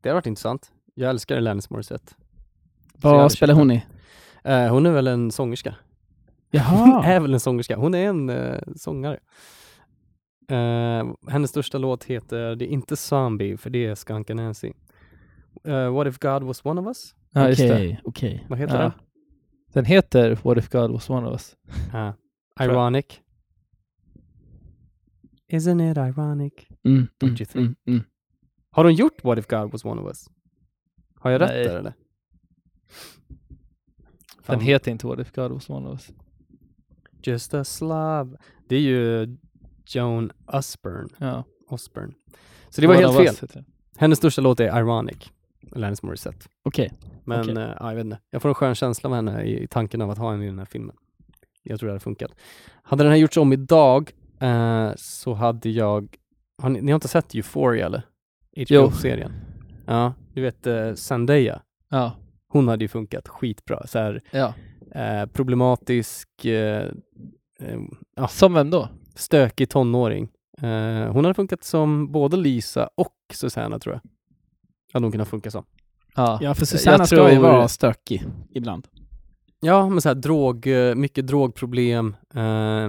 A: Det har varit intressant. Jag älskar Alanis Morissette. Så jag hade
K: Vad spelar
A: köpt
K: hon i?
A: den. Eh, hon är väl en sångerska. Hon
K: Jaha.
A: är väl en sångerska. Hon är en eh, sångare. Eh, hennes största låt heter, det är inte Zombie, för det är Skunk Nancy. Eh, What if God was one of us?
J: Ja, just det.
K: Okej, okej.
A: Vad heter
J: Ja.
A: den?
J: Den heter What if God was one of us.
A: Ah,
J: jag.
A: ironic. Isn't it ironic?
K: Mm,
A: Don't
K: mm,
A: you think?
K: mm, mm.
A: Har de gjort What if God was one of us? Har jag
J: Nej.
A: rätt där eller?
J: Den
A: Fan,
J: heter inte What if God was one of us.
A: Just a slav. Det är ju Joan Osborne.
J: Ja.
A: Osborne. Så det var
J: One
A: helt
J: of
A: fel.
J: Us heter den.
A: Hennes största låt är Ironic. Alanis Morissette.
K: Okej.
A: Men
K: Okej.
A: eh, ja, jag vet inte. Jag får en skön känsla med henne i, i tanken av att ha henne i den här filmen. Jag tror det hade funkat. Hade den här gjorts om idag eh, så hade jag... Har ni, ni har inte sett Euphoria eller?
J: Jo.
A: HBO-serien. Ja, du vet eh, Zendaya.
J: Ja,
A: Hon hade ju funkat skitbra. Så här,
J: ja.
A: eh, problematisk, eh, eh, Ja.
J: Som vem då?
A: stökig tonåring. Eh, hon hade funkat som både Lisa och Susanna tror jag. Hade hon kunnat funka som. Eh,
J: Ja.
K: Ja, för Susanna
J: jag
K: ska ju
J: tror-
K: vara stökig ibland.
A: Ja, men så här drog, eh, mycket drogproblem, eh,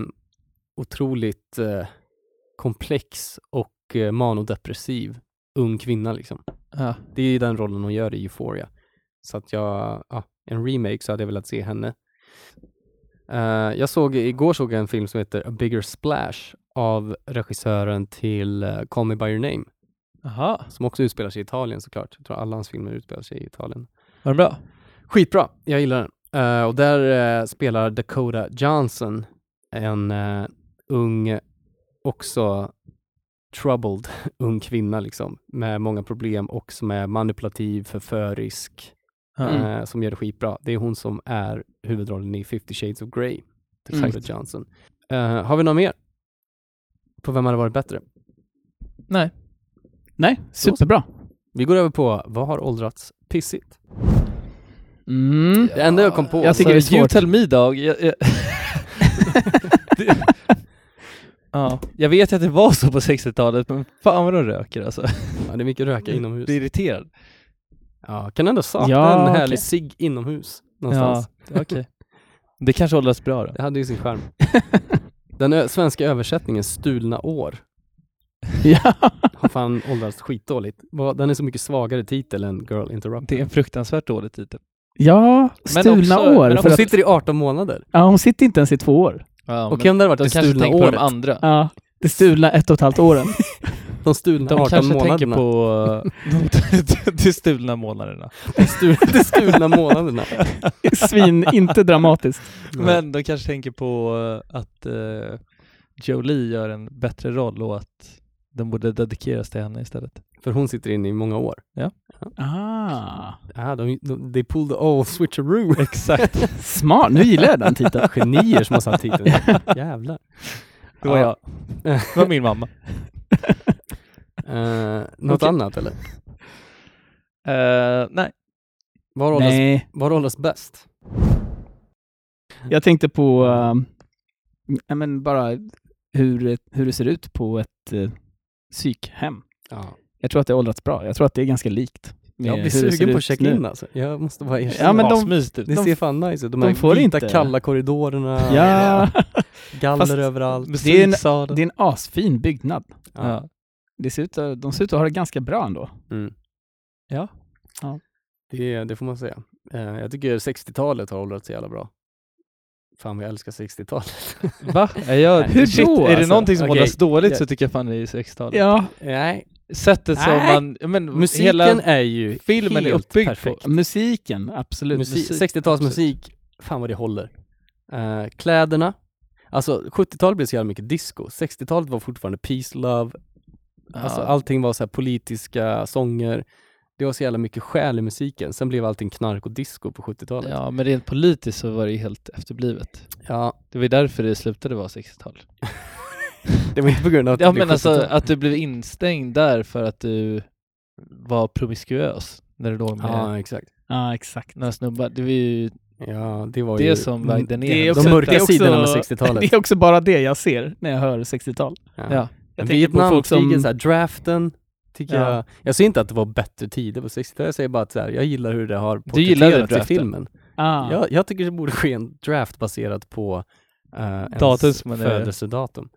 A: otroligt eh, komplex och eh, manodepressiv ung kvinna liksom.
J: Ja.
A: Det är ju den rollen hon gör i Euphoria. Så att jag, ja, en remake så hade jag velat se henne. Eh, jag såg, igår såg jag en film som heter A Bigger Splash av regissören till eh, Call Me By Your Name,
J: Jaha,
A: som också utspelar sig i Italien såklart. Jag tror alla hans filmer utspelar sig i Italien.
J: var den bra?
A: Skitbra, jag gillar den. Eh, och där eh, spelar Dakota Johnson en eh, ung, också troubled ung kvinna liksom, med många problem och som är manipulativ, förförisk,
J: Ja.
K: Mm.
A: eh, som gör det skitbra. Det är hon som är huvudrollen i 50 Shades of Grey, Dakota
K: Mm.
A: Johnson. Eh, har vi något mer? På vem hade varit bättre?
J: Nej.
K: Nej, superbra.
A: Vi går över på vad har åldrats pissigt?
K: Mm.
A: Det enda jag kom på.
K: Jag tycker det är
J: You
K: svårt.
J: tell me dog. Jag, jag, Ja, jag vet ju att det var så på 60-talet, men fan vad de röker alltså.
A: Ja, det är mycket röka
K: Mm.
A: inomhus.
J: Blir irriterad.
A: Ja, kan ändå sakna
J: Ja,
A: en härlig
J: okej.
A: cigg inomhus någonstans.
J: Ja, okej. Det kanske åldras bra då.
A: Det hade ju sin charm. Den ö- svenska översättningen Stulna år
J: Ja.
A: har fan åldrats skitdåligt. Vad- Den är så mycket svagare titel än Girl Interrupted.
J: Det är en fruktansvärt dålig typ. titel.
K: Ja, stulna
J: också-
K: år.
J: men
K: för
A: Hon
K: att,
A: sitter i 18 månader.
K: ja, hon sitter inte ens i två år.
J: Ja,
A: Okej om det hade varit
J: de
A: det
J: kanske
A: stulna
J: tänker på
A: året.
J: de andra.
K: Ja, det stulna ett och ett halvt åren.
A: De stulna
J: De
A: 18
J: kanske tänker
A: månaderna.
J: på de, de stulna månaderna.
A: De stu- de stulna månaderna.
K: Svin, inte dramatiskt.
J: Men de kanske tänker på eh, att eh, Jolie gör en bättre roll och att den borde dedikeras till henne istället.
A: För hon sitter inne i många år.
K: Ah,
A: Ah, de, de, they pulled the old switcheroo.
J: Exakt.
K: smart, nu gillar jag den titeln.
A: Genier som har satt titeln. Jävlar.
J: Det var jag.
A: Ja.
J: Det var min mamma.
A: Eh, något
J: Okej.
A: annat eller?
J: Eh, nej.
A: Var åldras,
K: Nej,
A: var åldras bäst?
K: jag tänkte på ehm, ja, men bara hur, hur det ser ut på ett eh, psykhem.
A: Ja.
K: Jag tror att det har åldrats bra. Jag tror att det är ganska likt. med
A: Jag
K: hur det
A: blir
K: ser
A: sugen
K: ut
A: på att checka in
K: nu.
A: alltså. Jag måste bara erkänna.
K: Ja, men de-
J: Asmysigt ut.
A: det
K: de-
A: ser fan nice ut. De,
K: de
A: här
K: får
A: vita
K: inte.
A: kalla korridorerna,
K: Ja,
A: galler
K: Fast-
A: överallt.
K: det är en-
J: Musiksalen.
K: det är en asfin byggnad.
A: Ja.
J: Ja.
K: Det ser ut, att- de ser ut att ha det ganska bra ändå.
A: Mm.
J: Ja.
K: Ja.
A: Det, det får man säga. Eh, jag tycker 60-talet har åldrats så jävla bra. Fan vad jag älskar 60-talet.
J: Va? Är jag,
K: Hur
J: shit,
K: då,
J: Är det
K: alltså?
J: någonting som
A: Okej.
J: åldras dåligt så
A: Jag-
J: tycker jag fan det är 60-talet.
K: Ja,
A: Nej,
J: Sättet som
A: Nej.
J: man... Men,
A: musiken
J: hela
A: är ju
J: filmen är
A: helt
J: uppbyggd
A: perfekt.
J: på.
K: musiken, absolut.
A: Musik,
J: musik,
A: 60-talsmusik, fan vad det håller. Eh, kläderna, alltså 70-talet blev så jävla mycket disco. 60-talet var fortfarande peace, love, alltså
J: Ja.
A: allting var så här politiska sånger. Det var så jävla mycket själ i musiken. Sen blev allting knark och disco på 70-talet. Ja.
J: Ja, men rent politiskt så var det ju helt efterblivet. Det var ju därför det slutade vara 60-tal.
A: det var inte på grund av att
J: Ja,
A: det blev
J: men alltså
A: 70-tal.
J: att du blev instängd där för att du var promiskuös när du låg med
A: Ja, exakt.
K: Ja, exakt.
J: några snubbar. Det var ju
A: Ja, det var
J: det
A: ju
J: som
A: Mm,
J: vägde ner.
K: det är
J: henne.
K: också-
A: de mörka
K: det är också-
A: sidorna med
K: Det
A: 60-talet.
K: är också bara det jag ser när jag hör 60-tal.
J: Ja.
K: Jag tänker på folk
A: Vietnamkriget,
K: som-
A: så här, draften. Tycker
K: Ja.
A: jag, jag säger inte att det var bättre tider på 60-talet, jag säger bara att så här, jag gillar hur det har
J: gillade
A: porträtterats i
J: draften.
A: filmen.
K: Ah.
A: Jag, jag tycker det borde ske en draft baserat på uh,
J: Datum
A: ens
J: som man är-
A: födelsedatum.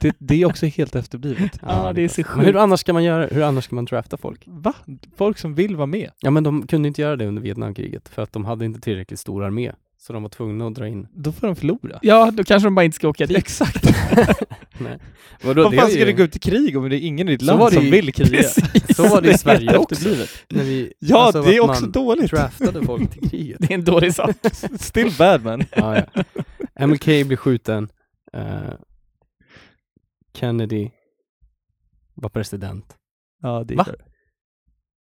J: det, det är också helt efterblivet.
K: Ja, Ah, det är så
A: Men hur
K: sjukt.
A: annars kan man göra, hur annars kan man drafta folk?
J: Va? Folk som vill vara med?
A: Ja men de kunde inte göra det under Vietnamkriget för att de hade inte tillräckligt stor armé. Så de var tvungna att dra in.
J: Då får de förlora.
K: Ja, då kanske de bara inte ska åka dit.
J: Exakt.
A: Vadå,
J: Vad
A: är
J: fan
A: ju-
J: ska du gå ut i krig om det är ingen i ditt
A: Så
J: land
A: var det
J: som
A: ju-
J: vill kriga?
A: Så var det i Sverige
J: helt
A: också.
J: efterblivet.
A: När vi,
J: Ja,
A: alltså,
J: det är
A: att
J: också
A: man
J: dåligt.
A: draftade folk till kriget.
K: Det är en dålig sak.
J: Still bad man.
A: ja, ja. MLK blir skjuten. Eh, Kennedy var president.
J: Ja, det
A: Va?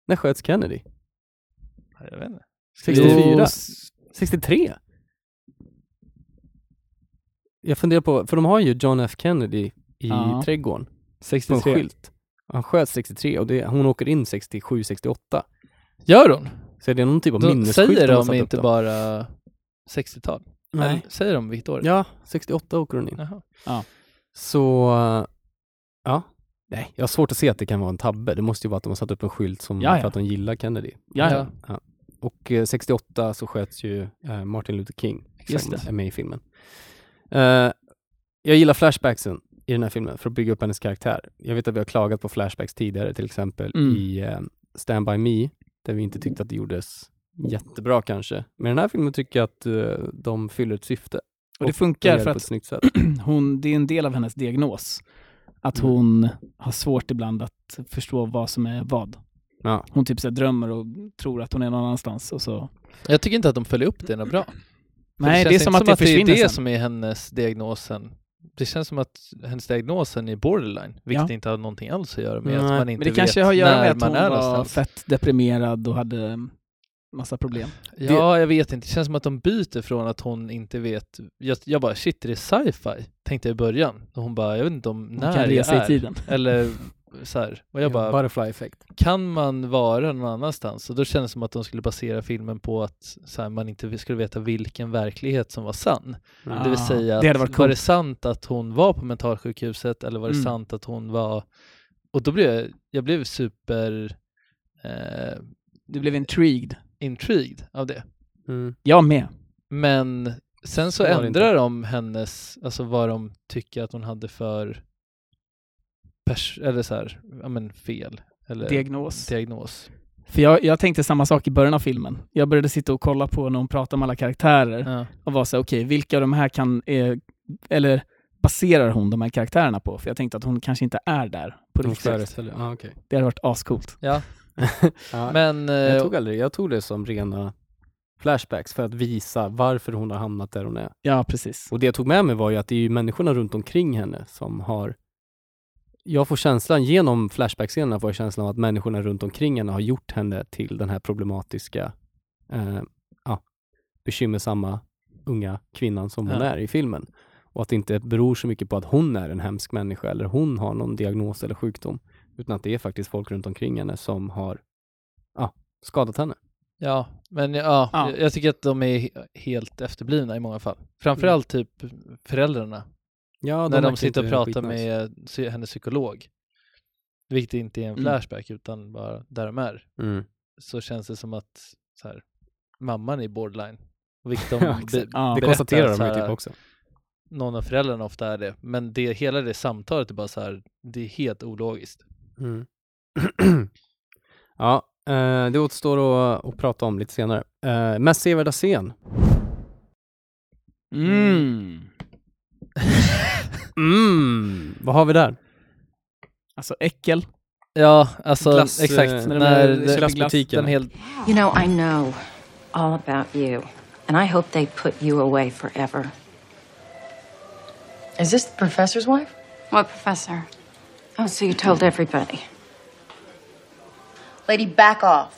A: När sköts Kennedy?
J: Jag vet inte.
A: 64? 63? Jag funderar på, för de har ju John F Kennedy i
K: Ja.
A: trädgården på en skylt. Han sköts 63 och det, hon åker in 67-68.
J: Gör hon?
A: Så är det någon typ av
J: Då
A: minnesskylt
J: säger
A: har
J: de
A: satt upp
J: inte
A: då?
J: bara 60-tal?
A: Nej.
J: Eller Säger de vilket år?
A: Ja, 68 åker hon in.
J: Jaha.
A: Så, eh, ja. Nej, jag har svårt att se att det kan vara en tabbe. Det måste ju vara att de har satt upp en skylt som
K: Jaja.
A: för att de gillar Kennedy.
J: Jaja.
A: Ja. Och eh, 68 så sköts ju eh, Martin Luther King,
K: Just
A: som
K: det.
A: är med i filmen. Eh, jag gillar flashbacksen i den här filmen för att bygga upp hennes karaktär. Jag vet att vi har klagat på flashbacks tidigare, till exempel
K: Mm.
A: i eh, Stand By Me, där vi inte tyckte att det gjordes jättebra kanske. Men i den här filmen tycker jag att eh, de fyller ett syfte.
K: Och det
A: De gör
K: funkar
A: det
K: för
A: på ett
K: att
A: snyggt sätt.
K: hon, det är en del av hennes diagnos. Att
A: Mm.
K: hon har svårt ibland att förstå vad som är vad.
A: Ja.
K: Hon typ så här drömmer och tror att hon är någon annanstans och så.
J: Jag tycker inte att de följer upp det något bra. För
K: Nej, det,
J: känns
K: är som
J: inte
K: att det försvinner
J: är det
K: sen.
J: som är hennes diagnosen. Det känns som att hennes diagnosen är borderline, vilket
K: Ja.
J: inte har någonting alls att göra med att
A: Nej,
J: man
A: men
J: inte
K: Men det
J: vet
K: kanske har att göra
J: när
K: med att
J: man
K: hon
J: är
K: var
J: någonstans.
K: fett deprimerad och hade mm, massa problem.
J: Ja, jag vet inte. Det känns som att de byter från att hon inte vet. Jag, jag bara, shit, är det sci-fi? Tänkte jag i början. Och hon bara, jag vet inte om
K: Hon
J: när
K: kan resa
J: jag är.
K: i tiden.
J: Eller så här. Och jag
A: Ja,
J: bara,
A: butterfly effect.
J: kan man vara någon annanstans? Och då kändes det som att de skulle basera filmen på att så här, man inte skulle veta vilken verklighet som var sann.
K: Ja.
J: Det vill säga, att,
K: Ah, Det hade varit
J: var
K: coolt.
J: det sant att hon var på mentalsjukhuset eller var det
K: Mm.
J: sant att hon var... Och då blev jag, jag blev super... Eh,
K: du blev intrigued.
J: Intrigued av det.
K: Jag med.
J: Men sen
K: Så
J: så
K: var det
J: ändrar de hennes, alltså vad de tycker att hon hade för pers- eller så här, ja men fel.
K: Eh,
J: Eller
K: Diagnos.
J: diagnos.
K: För jag, jag tänkte samma sak i början av filmen. Jag började sitta och kolla på när hon pratade om alla karaktärer
J: Ja.
K: och var så här, okej, vilka av de här kan, eh, eller baserar hon de här karaktärerna på? För jag tänkte att hon kanske inte är där på
A: Hon
K: riktigt.
A: föreställer- ja, okej.
K: Det hade varit ascoolt.
J: Ja.
A: Ja,
J: Men, eh,
A: jag, tog aldrig, jag tog det som rena flashbacks för att visa varför hon har hamnat där hon är.
K: Ja, precis.
A: Och det jag tog med mig var ju att det är ju människorna runt omkring henne som har... Jag får känslan, genom flashback-scenerna får jag känslan av att människorna runt omkring henne har gjort henne till den här problematiska, eh, ja, bekymmersamma unga kvinnan som hon
K: Ja.
A: är i filmen. Och att det inte beror så mycket på att hon är en hemsk människa eller hon har någon diagnos eller sjukdom, utan att det är faktiskt folk runt omkring henne som har ja, skadat henne.
J: Ja, men ja,
K: Ja.
J: Jag, jag tycker att de är he- helt efterblivna i många fall. Framförallt typ föräldrarna,
A: Ja,
J: när de sitter och pratar med psy- hennes psykolog. Vilket inte är en
K: Mm.
J: flashback utan bara där de är.
A: Mm.
J: Så känns det som att så här, mamman är borderline. Och Vilket de
A: Ja, exakt.
J: be-
K: Ja.
A: Det
J: berättar
A: konstaterar
J: så
A: de ju
J: här,
A: typ också.
J: Någon av föräldrarna ofta är det. Men det, hela det samtalet är bara så här, det är helt ologiskt.
A: Mm. ja, eh, det återstår att, att prata om lite senare. Eh, mest sevärda scen.
K: Mm.
A: Mm. Vad har vi där?
K: Alltså äckel.
J: Ja, alltså
A: Glass, eh,
J: exakt.
A: när
K: de
J: När,
K: är-
J: den-
A: glassbutikerna.
J: den helt
L: You know, I know all about you, and I hope they put you away forever.
I: Is this the professor's wife?
D: What, Professor?
L: Oh, so you told everybody.
I: Lady, back off.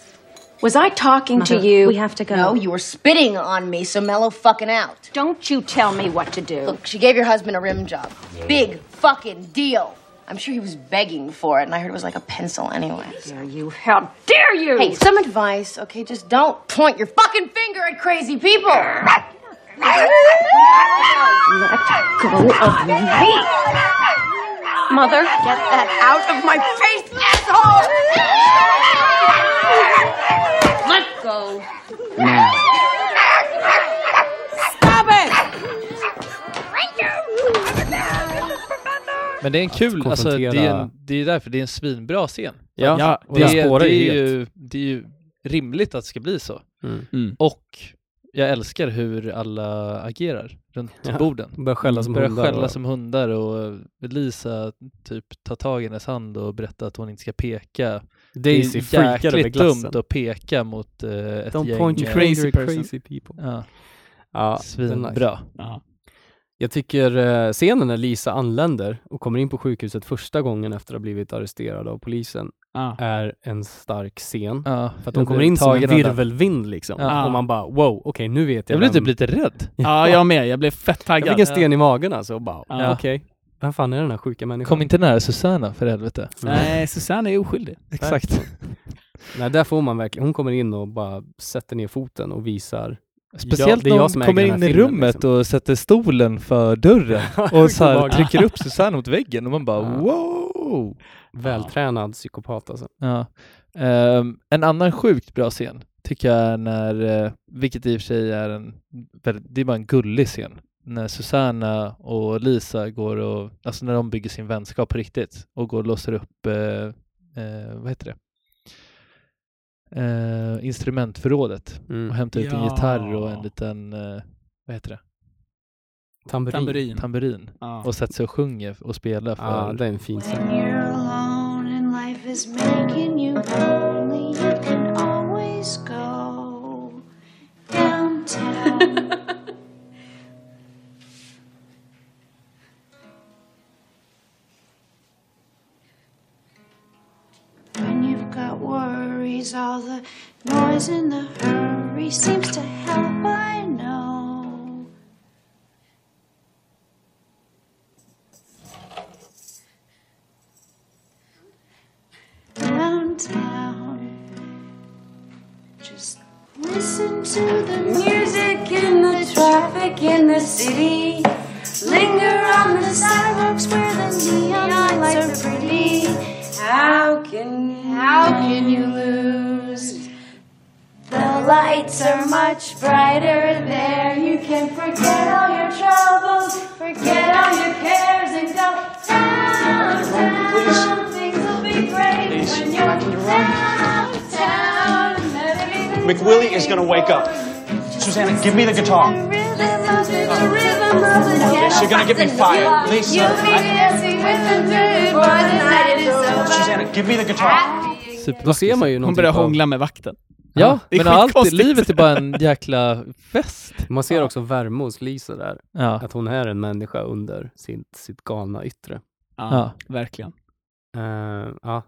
L: Was I talking to
E: Mother,
L: you?
E: we have to go.
I: No, you were spitting on me, so mellow fucking out.
L: Don't you tell me what to do.
I: Look, she gave your husband a rim job. Big fucking deal. I'm sure he was begging for it, and I heard it was like a pencil anyway.
L: dare you? How dare you?
I: Hey, some advice, okay? Just don't point your fucking finger at crazy people.
L: let go of me. Mother,
I: Get that out of my face, asshole! Let go.
J: Men det är en kul, alltså det är,
A: konfrontera-
J: en, det är därför det är en svinbra scen.
A: Ja,
K: Ja,
A: och
J: Det,
A: den
J: är,
A: spårar
J: det,
A: ju
J: är
A: helt.
J: ju, det är ju rimligt att det ska bli så.
A: Mm.
K: Mm.
J: Och jag älskar hur alla agerar runt
A: Ja.
J: borden.
A: Börjar skälla som
J: Börjar
A: hundar.
J: skälla
A: och-
J: som hundar och Lisa typ tar tag i hennes hand och berättar att hon inte ska peka.
A: Daisy
J: det är
A: freakade över
J: jäkligt
A: glassen.
J: dumt att peka mot eh, ett
A: Don't
J: gäng.
A: point
J: eh,
A: your
K: Crazy
A: finger at
K: person.
A: crazy people.
J: Ja,
A: Ja, den är
J: svinbra.
A: nice.
K: Ja.
A: Jag tycker eh, scenen när Lisa anländer och kommer in på sjukhuset första gången efter att ha blivit arresterad av polisen
K: Ja.
A: är en stark scen.
J: Ja,
A: För att
J: jag
A: de kommer
J: blev
A: in som en
J: tagen av den.
A: virvelvind liksom.
J: Ja.
A: Och man bara wow, okej nu vet jag
J: Jag blev
A: vem-
J: typ lite rädd.
K: ja, jag med. Jag blev fett
A: Jag
K: taggad.
A: fick en sten i magen alltså och bara,
K: Ja.
A: okej, vem fan är den här sjuka människan? Mm.
J: Kom inte nära Susanna för helvete.
K: Nej, Susanne är oskyldig.
J: Mm. Exakt.
A: Nej, där får man verkligen, hon kommer in och bara sätter ner foten och visar.
J: Speciellt
A: det är
J: när
A: jag
J: hon
A: som äger
J: kommer
A: den här
J: in i
A: filmen,
J: rummet
A: liksom.
J: och sätter stolen för dörren och
A: Sjukt
J: så här,
A: obehagligt.
J: trycker upp Susanne mot väggen och man bara
A: Ja.
J: wow!
A: Vältränad psykopat alltså.
J: Ja. Ehm, en annan sjukt bra scen tycker jag är när, eh, vilket i och för sig är en, väldigt- det är bara en gullig scen, när Susanna och Lisa går och, alltså när de bygger sin vänskap på riktigt och går och låser upp, eh, eh, vad heter det? Eh, instrumentförrådet
A: Mm.
J: och hämtar ut en
K: Ja.
J: gitarr och en liten, eh, vad heter det?
A: Tamburin.
K: Tamburin.
J: tamburin
K: Ja.
J: och sätter sig och sjunger och spelar för...
A: Ja, Ah, det är en fin scen.
E: You're alone and life is making you lonely. You can always go downtown. when you've got worries, all the noise and the hurry seems to help, I know. to the music in the traffic in the city. Linger on the sidewalks where the neon lights are pretty. How can how can you lose? The lights are much brighter there. You can forget all your troubles, forget all your cares, and go downtown. Things will be great when you're downtown.
M: McWillie is gonna wake up. Susanna, give me the guitar. You're gonna get me fired. Lisa, I- Susanna, give me the guitar.
A: Då ser man ju
K: Hon
A: någon
K: börjar
A: typ av-
K: hångla med vakten.
J: Ja,
K: Det är
J: men allt i
K: skitkonstigt.
J: livet är bara en jäkla fest.
A: Man ser också värme hos Lisa där. Att hon är en människa under sitt, sitt galna yttre.
K: Ja, verkligen.
A: Eh, ja,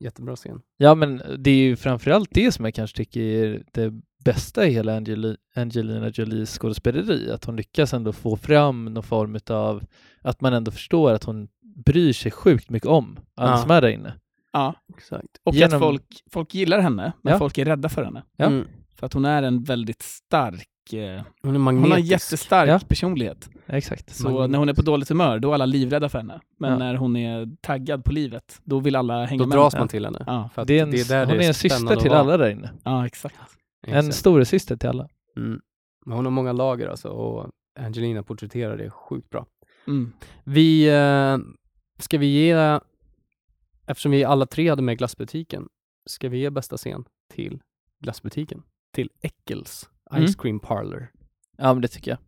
A: jättebra scen.
J: Ja, men det är ju framförallt det som jag kanske tycker är det bästa i hela Angeli- Angelina Jolies skådespeleri, att hon lyckas ändå få fram någon form av att man ändå förstår att hon bryr sig sjukt mycket om alla
K: Ja.
J: som är där inne.
K: Ja,
A: exakt.
K: Och
J: Genom-
K: att folk, folk gillar henne, men
J: Ja.
K: folk är rädda för henne.
J: Ja. Mm.
K: För att hon är en väldigt stark... eh,
A: Hon är
K: Hon har en
A: magnetisk.
K: jättestark
A: Ja.
K: personlighet.
J: Exakt.
K: Så
A: Magnet.
K: när hon är på dåligt humör, då är alla livrädda för henne. Men
A: Ja.
K: när hon är taggad på livet, då vill alla hänga
A: Då
K: med.
A: dras man
K: Ja.
A: till henne.
K: Ja.
A: För att
J: Det är en,
A: det är där det
J: hon är
A: är
J: en syster
A: spännande
J: till
A: att vara.
J: alla där inne.
K: Ja, exakt.
J: En storasyster till alla.
A: Mm. Men hon har många lager alltså och Angelina porträtterar det sjukt bra.
K: Mm.
A: Vi, eh, ska vi ge, eftersom vi alla tre hade med glassbutiken, ska vi ge bästa scen till glassbutiken? Till Eccles
J: Mm.
A: Ice Cream Parlor.
J: Ja, men det tycker jag.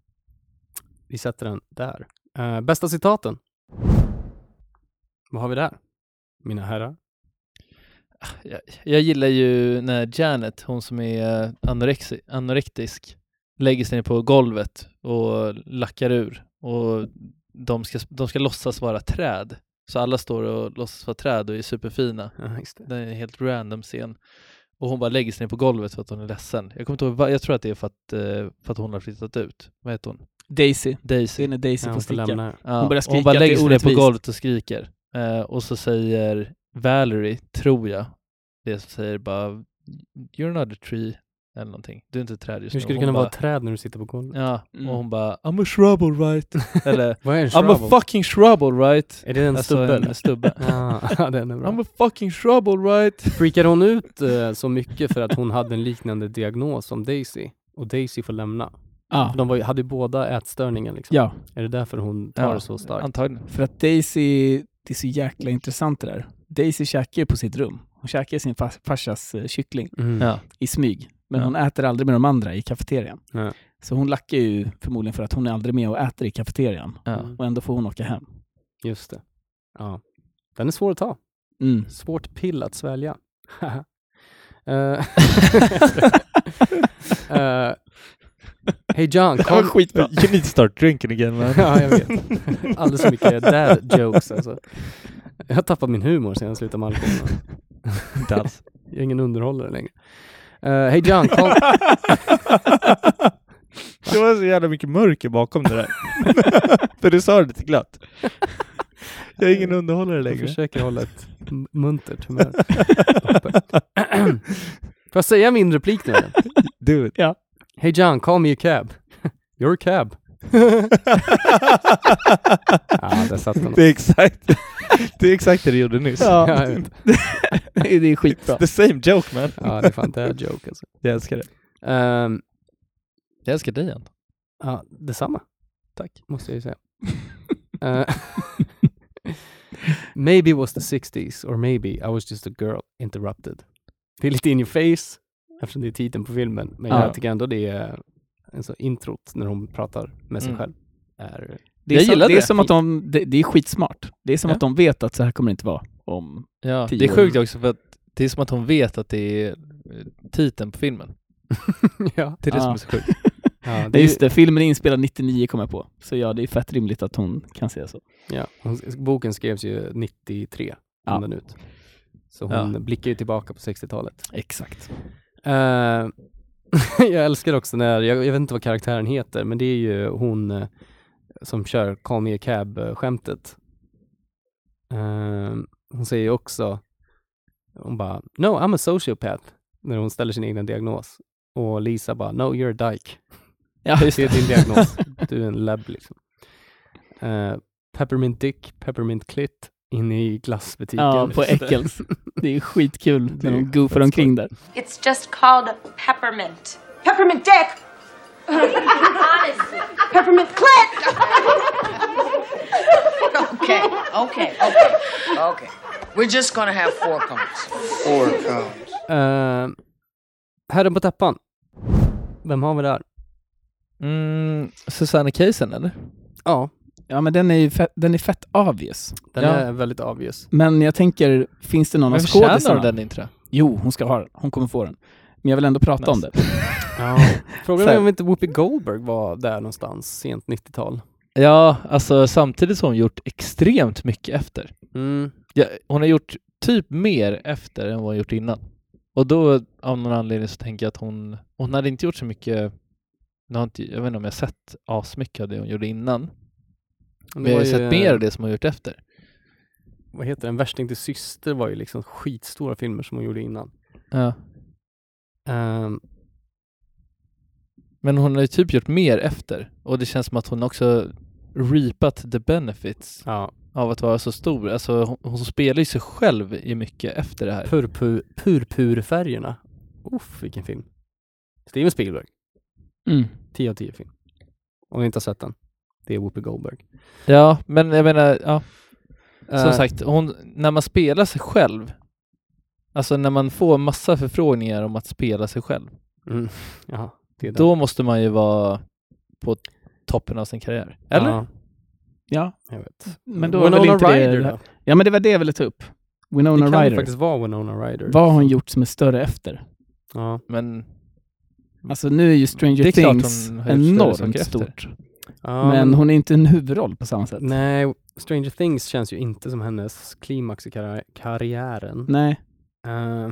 A: Vi sätter den där. Eh, bästa citaten? Vad har vi där? Mina herrar?
J: jag, jag gillar ju när Janet, hon som är anorexi, anorektisk, lägger sig ner på golvet och lackar ur. Och de ska, de ska låtsas vara träd. Så alla står och låtsas vara träd och är superfina.
A: Ja, just det.
J: det är en helt random scen. Och hon bara lägger sig ner på golvet för att hon är ledsen. Jag kommer inte ihåg, vad- jag tror att det är för att, eh, för att hon har flyttat ut. Vad heter hon?
K: Daisy. Det
J: Daisy.
K: är när Daisy
A: Ja,
K: får
A: hon får
K: sticka.
A: lämna.
J: Ja,
K: Hon börjar skrika
J: hon bara
K: att det
J: lägger
K: är
J: sig ner på
K: orättvist.
J: golvet och skriker. Eh, och så säger Valerie, tror jag, det som säger bara You're not a tree eller någonting. Du är inte ett träd just
A: Hur
J: nu.
A: ska du
J: Hon
A: kunna vara
J: bara-
A: ett träd när du sitter på golvet?
J: Ja,
A: Mm.
J: och hon bara I'm a shrub alright. Eller
A: Vad är en
J: I'm
A: shrub?
J: a fucking shrub alright.
A: Är det en
J: alltså,
A: stubbe? eller?
J: En stubbe.
A: ja, den är bra.
J: I'm a fucking shrub alright.
A: Freakar hon ut eh, så mycket för att hon hade en liknande diagnos som Daisy och Daisy får lämna?
K: Ja.
A: För De var, ju- hade ju båda ätstörningen liksom.
K: Ja.
A: Är det därför hon tar
K: Ja,
A: det så starkt?
J: Antagligen.
K: För att Daisy, det är så jäkla intressant det där. Daisy käkar ju på sitt rum. Hon käkar ju sin fars, farsas eh, kyckling
A: Mm.
J: Ja.
K: i smyg. Men
J: Ja.
K: hon äter aldrig med de andra i kafeterian.
A: Nej.
K: Så hon lackar ju förmodligen för att hon är aldrig med och äter i kafeterian.
J: Ja.
K: Och ändå får hon åka hem.
A: Just det. Ja. Den är svår att ta.
K: Mm.
A: Svårt pill att svälja. Eh, eh, Hey John,
J: Det var
A: kom...
J: skitbra. You need to start drinking again man.
A: ja, jag vet. Alldeles för mycket dad jokes alltså. Jag har tappat min humor sedan jag slutade med alkohol.
J: Inte alls.
A: Jag är ingen underhållare längre. Eh, Hej John, kom...
J: Det var så jävla mycket mörker bakom det där. För du sa det lite glatt. Jag är ingen underhållare
A: Jag
J: längre.
A: försöker hålla ett m- muntert humör. uppe. Får jag säga min replik nu? eller?
J: Do it.
K: Ja.
A: Hey John, call me a cab. You're a cab. Ja, där satt den.
J: Det är exakt det, är exakt det du gjorde nyss.
K: Ja.
A: Ja, jag vet.
K: det är skitbra.
J: The same joke man.
A: ja, det är fan dad joke alltså.
J: Jag älskar det.
A: Ehm,
J: Jag älskar dig Anton.
A: ja, detsamma.
J: Tack.
A: Måste jag ju säga. Eh, maybe it was the 60s or maybe I was just a girl interrupted. Det är lite in your face eftersom det är titeln på filmen. Men
J: Ja.
A: jag tycker ändå det är alltså, introt när hon pratar med sig
J: Mm.
A: själv. Är,
K: Det är,
J: Jag
K: som,
J: gillar
K: det. är
J: det.
K: som att de, det, det är skitsmart. Det är som
J: Ja.
K: att de vet att så här kommer det inte vara om...
J: Ja,
K: Tio
J: det är
K: år.
J: sjukt också för att det är som att hon vet att det är eh, titeln på filmen.
A: ja.
J: Det är det
K: Ja.
J: som är så sjukt.
A: Ja,
K: Det
A: det
K: är
A: är,
K: just det, filmen är inspelad 99 kommer jag på. Så ja, det är fett rimligt att hon kan säga så.
A: ja, hon, boken skrevs ju 93,
K: Ja.
A: kom den ut. Så hon
J: Ja.
A: blickar ju tillbaka på 60-talet.
K: Exakt.
A: Eh, jag älskar också när, jag, jag vet inte vad karaktären heter, men det är ju hon eh, som kör Call Me A Cab-skämtet. Eh, hon säger ju också, hon bara, No, I'm a sociopath, när hon ställer sin egna diagnos. Och Lisa bara, no you're a dyke.
J: Ja, just
A: det är
J: det.
A: din diagnos. Du är en lab liksom. Eh, peppermint Dick, Peppermint Clit, inne i glassbutiken.
K: Ja, på Äckels. Det är skitkul när de goofar omkring där.
I: It's just called peppermint.
F: Peppermint dick!
I: Honestly.
F: Peppermint clit! okay, okay, okay, okay. We're just gonna have four cones.
A: Four Eh, herren på täppan. Vem har vi där?
J: Mm, Susanne Kejsen eller?
A: Ja.
K: Ja, men den är ju fett, den är fett obvious.
A: Den
K: ja.
A: är väldigt obvious.
K: Men jag tänker, finns det någon
J: Men
K: av
J: förtjänar
K: skådisarna?
J: hon den inte då?
K: Jo, hon ska ha den. Hon kommer få den. Men jag vill ändå prata om
J: Nice.
K: det.
A: Ja. Frågan
K: Så
A: är
K: här-
A: om inte Whoopi Goldberg var där någonstans, sent 90-tal.
J: Ja, alltså samtidigt som hon gjort extremt mycket efter.
A: Mm.
J: Ja, hon har gjort typ mer efter än vad hon gjort innan. Och då av någon anledning så tänker jag att hon, hon hade inte gjort så mycket, jag, har inte, jag vet inte om jag sett asmycket av det hon gjorde innan. Men jag har
A: var
J: ju
A: ju- eh,
J: sett mer av det som hon gjort efter.
A: Vad heter den? Värsting till syster var ju liksom skitstora filmer som hon gjorde innan.
J: Ja.
A: Ehm,
J: Men hon har ju typ gjort mer efter. Och det känns som att hon också reapat the benefits av att vara så stor. Alltså hon, hon spelar ju sig själv i mycket efter det här.
A: Purpur, purpurfärgerna. Uff, vilken film. Steven Spielberg.
K: Mm.
A: 10 av 10 film. Om ni inte har sett den. Det är Whoopi Goldberg.
J: Ja, men jag menar, ja. Som
A: Eh.
J: sagt, hon, när man spelar sig själv, alltså när man får massa förfrågningar om att spela sig själv,
A: Mm. Jaha, det är den.
J: då måste man ju vara på toppen av sin karriär. Eller?
A: Ja,
K: Ja.
A: jag vet.
K: Men då
A: Winona
K: var väl inte
A: Ryder
K: det...
A: då?
K: Ja, men det var det jag ville ta upp.
A: Det kan
K: Winona
A: ju
K: Ryder.
A: faktiskt vara Winona Ryder.
K: Vad har hon gjort som är större efter?
A: Ja.
J: Men
K: Alltså nu är ju Stranger
J: Det är klart
K: Things
J: hon har gjort större saker
K: enormt
J: efter.
K: stort.
A: Ja,
K: men
A: men-
K: hon är inte en huvudroll på samma sätt.
A: Nej, Stranger Things känns ju inte som hennes klimax i karri- karriären.
K: Nej.
A: Eh,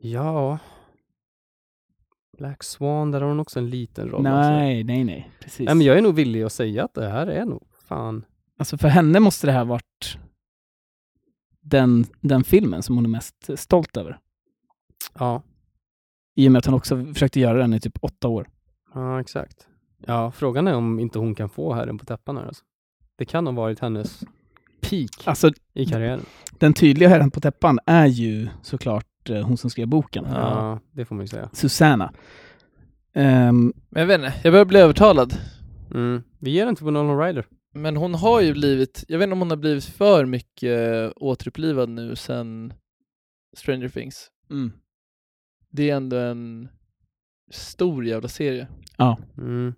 A: ja. Black Swan, där har hon också en liten roll.
K: Nej, nej, nej. Precis.
A: Nej, men jag är nog villig att säga att det här är nog fan.
K: Alltså för henne måste det här varit den, den filmen som hon är mest stolt över.
A: Ja,
K: I och med att hon också försökte göra den i typ åtta år.
A: ja exakt. Ja, frågan är om inte hon kan få herren på täppan här alltså. Det kan ha varit hennes peak
K: Alltså,
A: i karriären.
K: Den tydliga herren på täppan är ju såklart eh, hon som skrev boken.
A: Ja, det får man ju säga.
K: Susanna. Ehm,
J: Men jag vet inte, jag börjar bli övertalad.
A: Mm. Vi ger den till Winona Ryder.
J: Men hon har ju blivit, jag vet inte om hon har blivit för mycket återupplivad nu sen Stranger Things.
K: Mm.
J: Det är ändå en stor jävla serie.
K: ja,
A: Mm.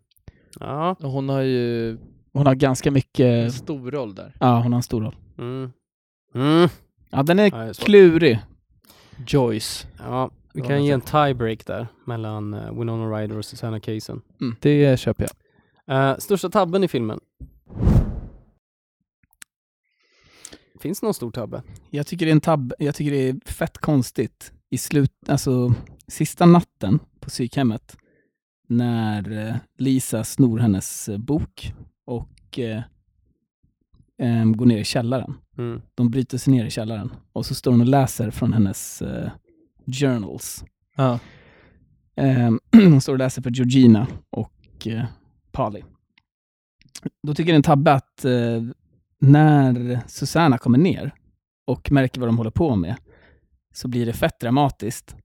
A: Ja.
J: Och hon har ju
K: hon har ganska
J: en
K: mycket...
J: stor roll där.
K: Ja, hon har en stor roll.
A: Mm. Mm.
K: Ja, den är
A: Ja, det är svårt.
K: klurig.
J: Joyce.
A: Ja, vi
J: Ja,
A: kan
J: men
A: ge en tiebreak där mellan eh, Winona Ryder och Susanna Kaysen.
J: Det köper jag.
A: Eh, största tabben i filmen? Finns det någon stor tabbe?
K: Jag tycker det är en tab... Jag tycker det är fett konstigt i slut... Alltså, sista natten på psykhemmet när eh, Lisa snor hennes eh, bok och eh, ehm, går ner i källaren.
A: Mm.
K: De bryter sig ner i källaren och så står hon och läser från hennes eh, journals.
J: Ja.
K: Ehm, hon står och läser för Georgina och eh, Polly. Då tycker den Tabbe att eh, när Susanna kommer ner och märker vad de håller på med så blir det fett dramatiskt.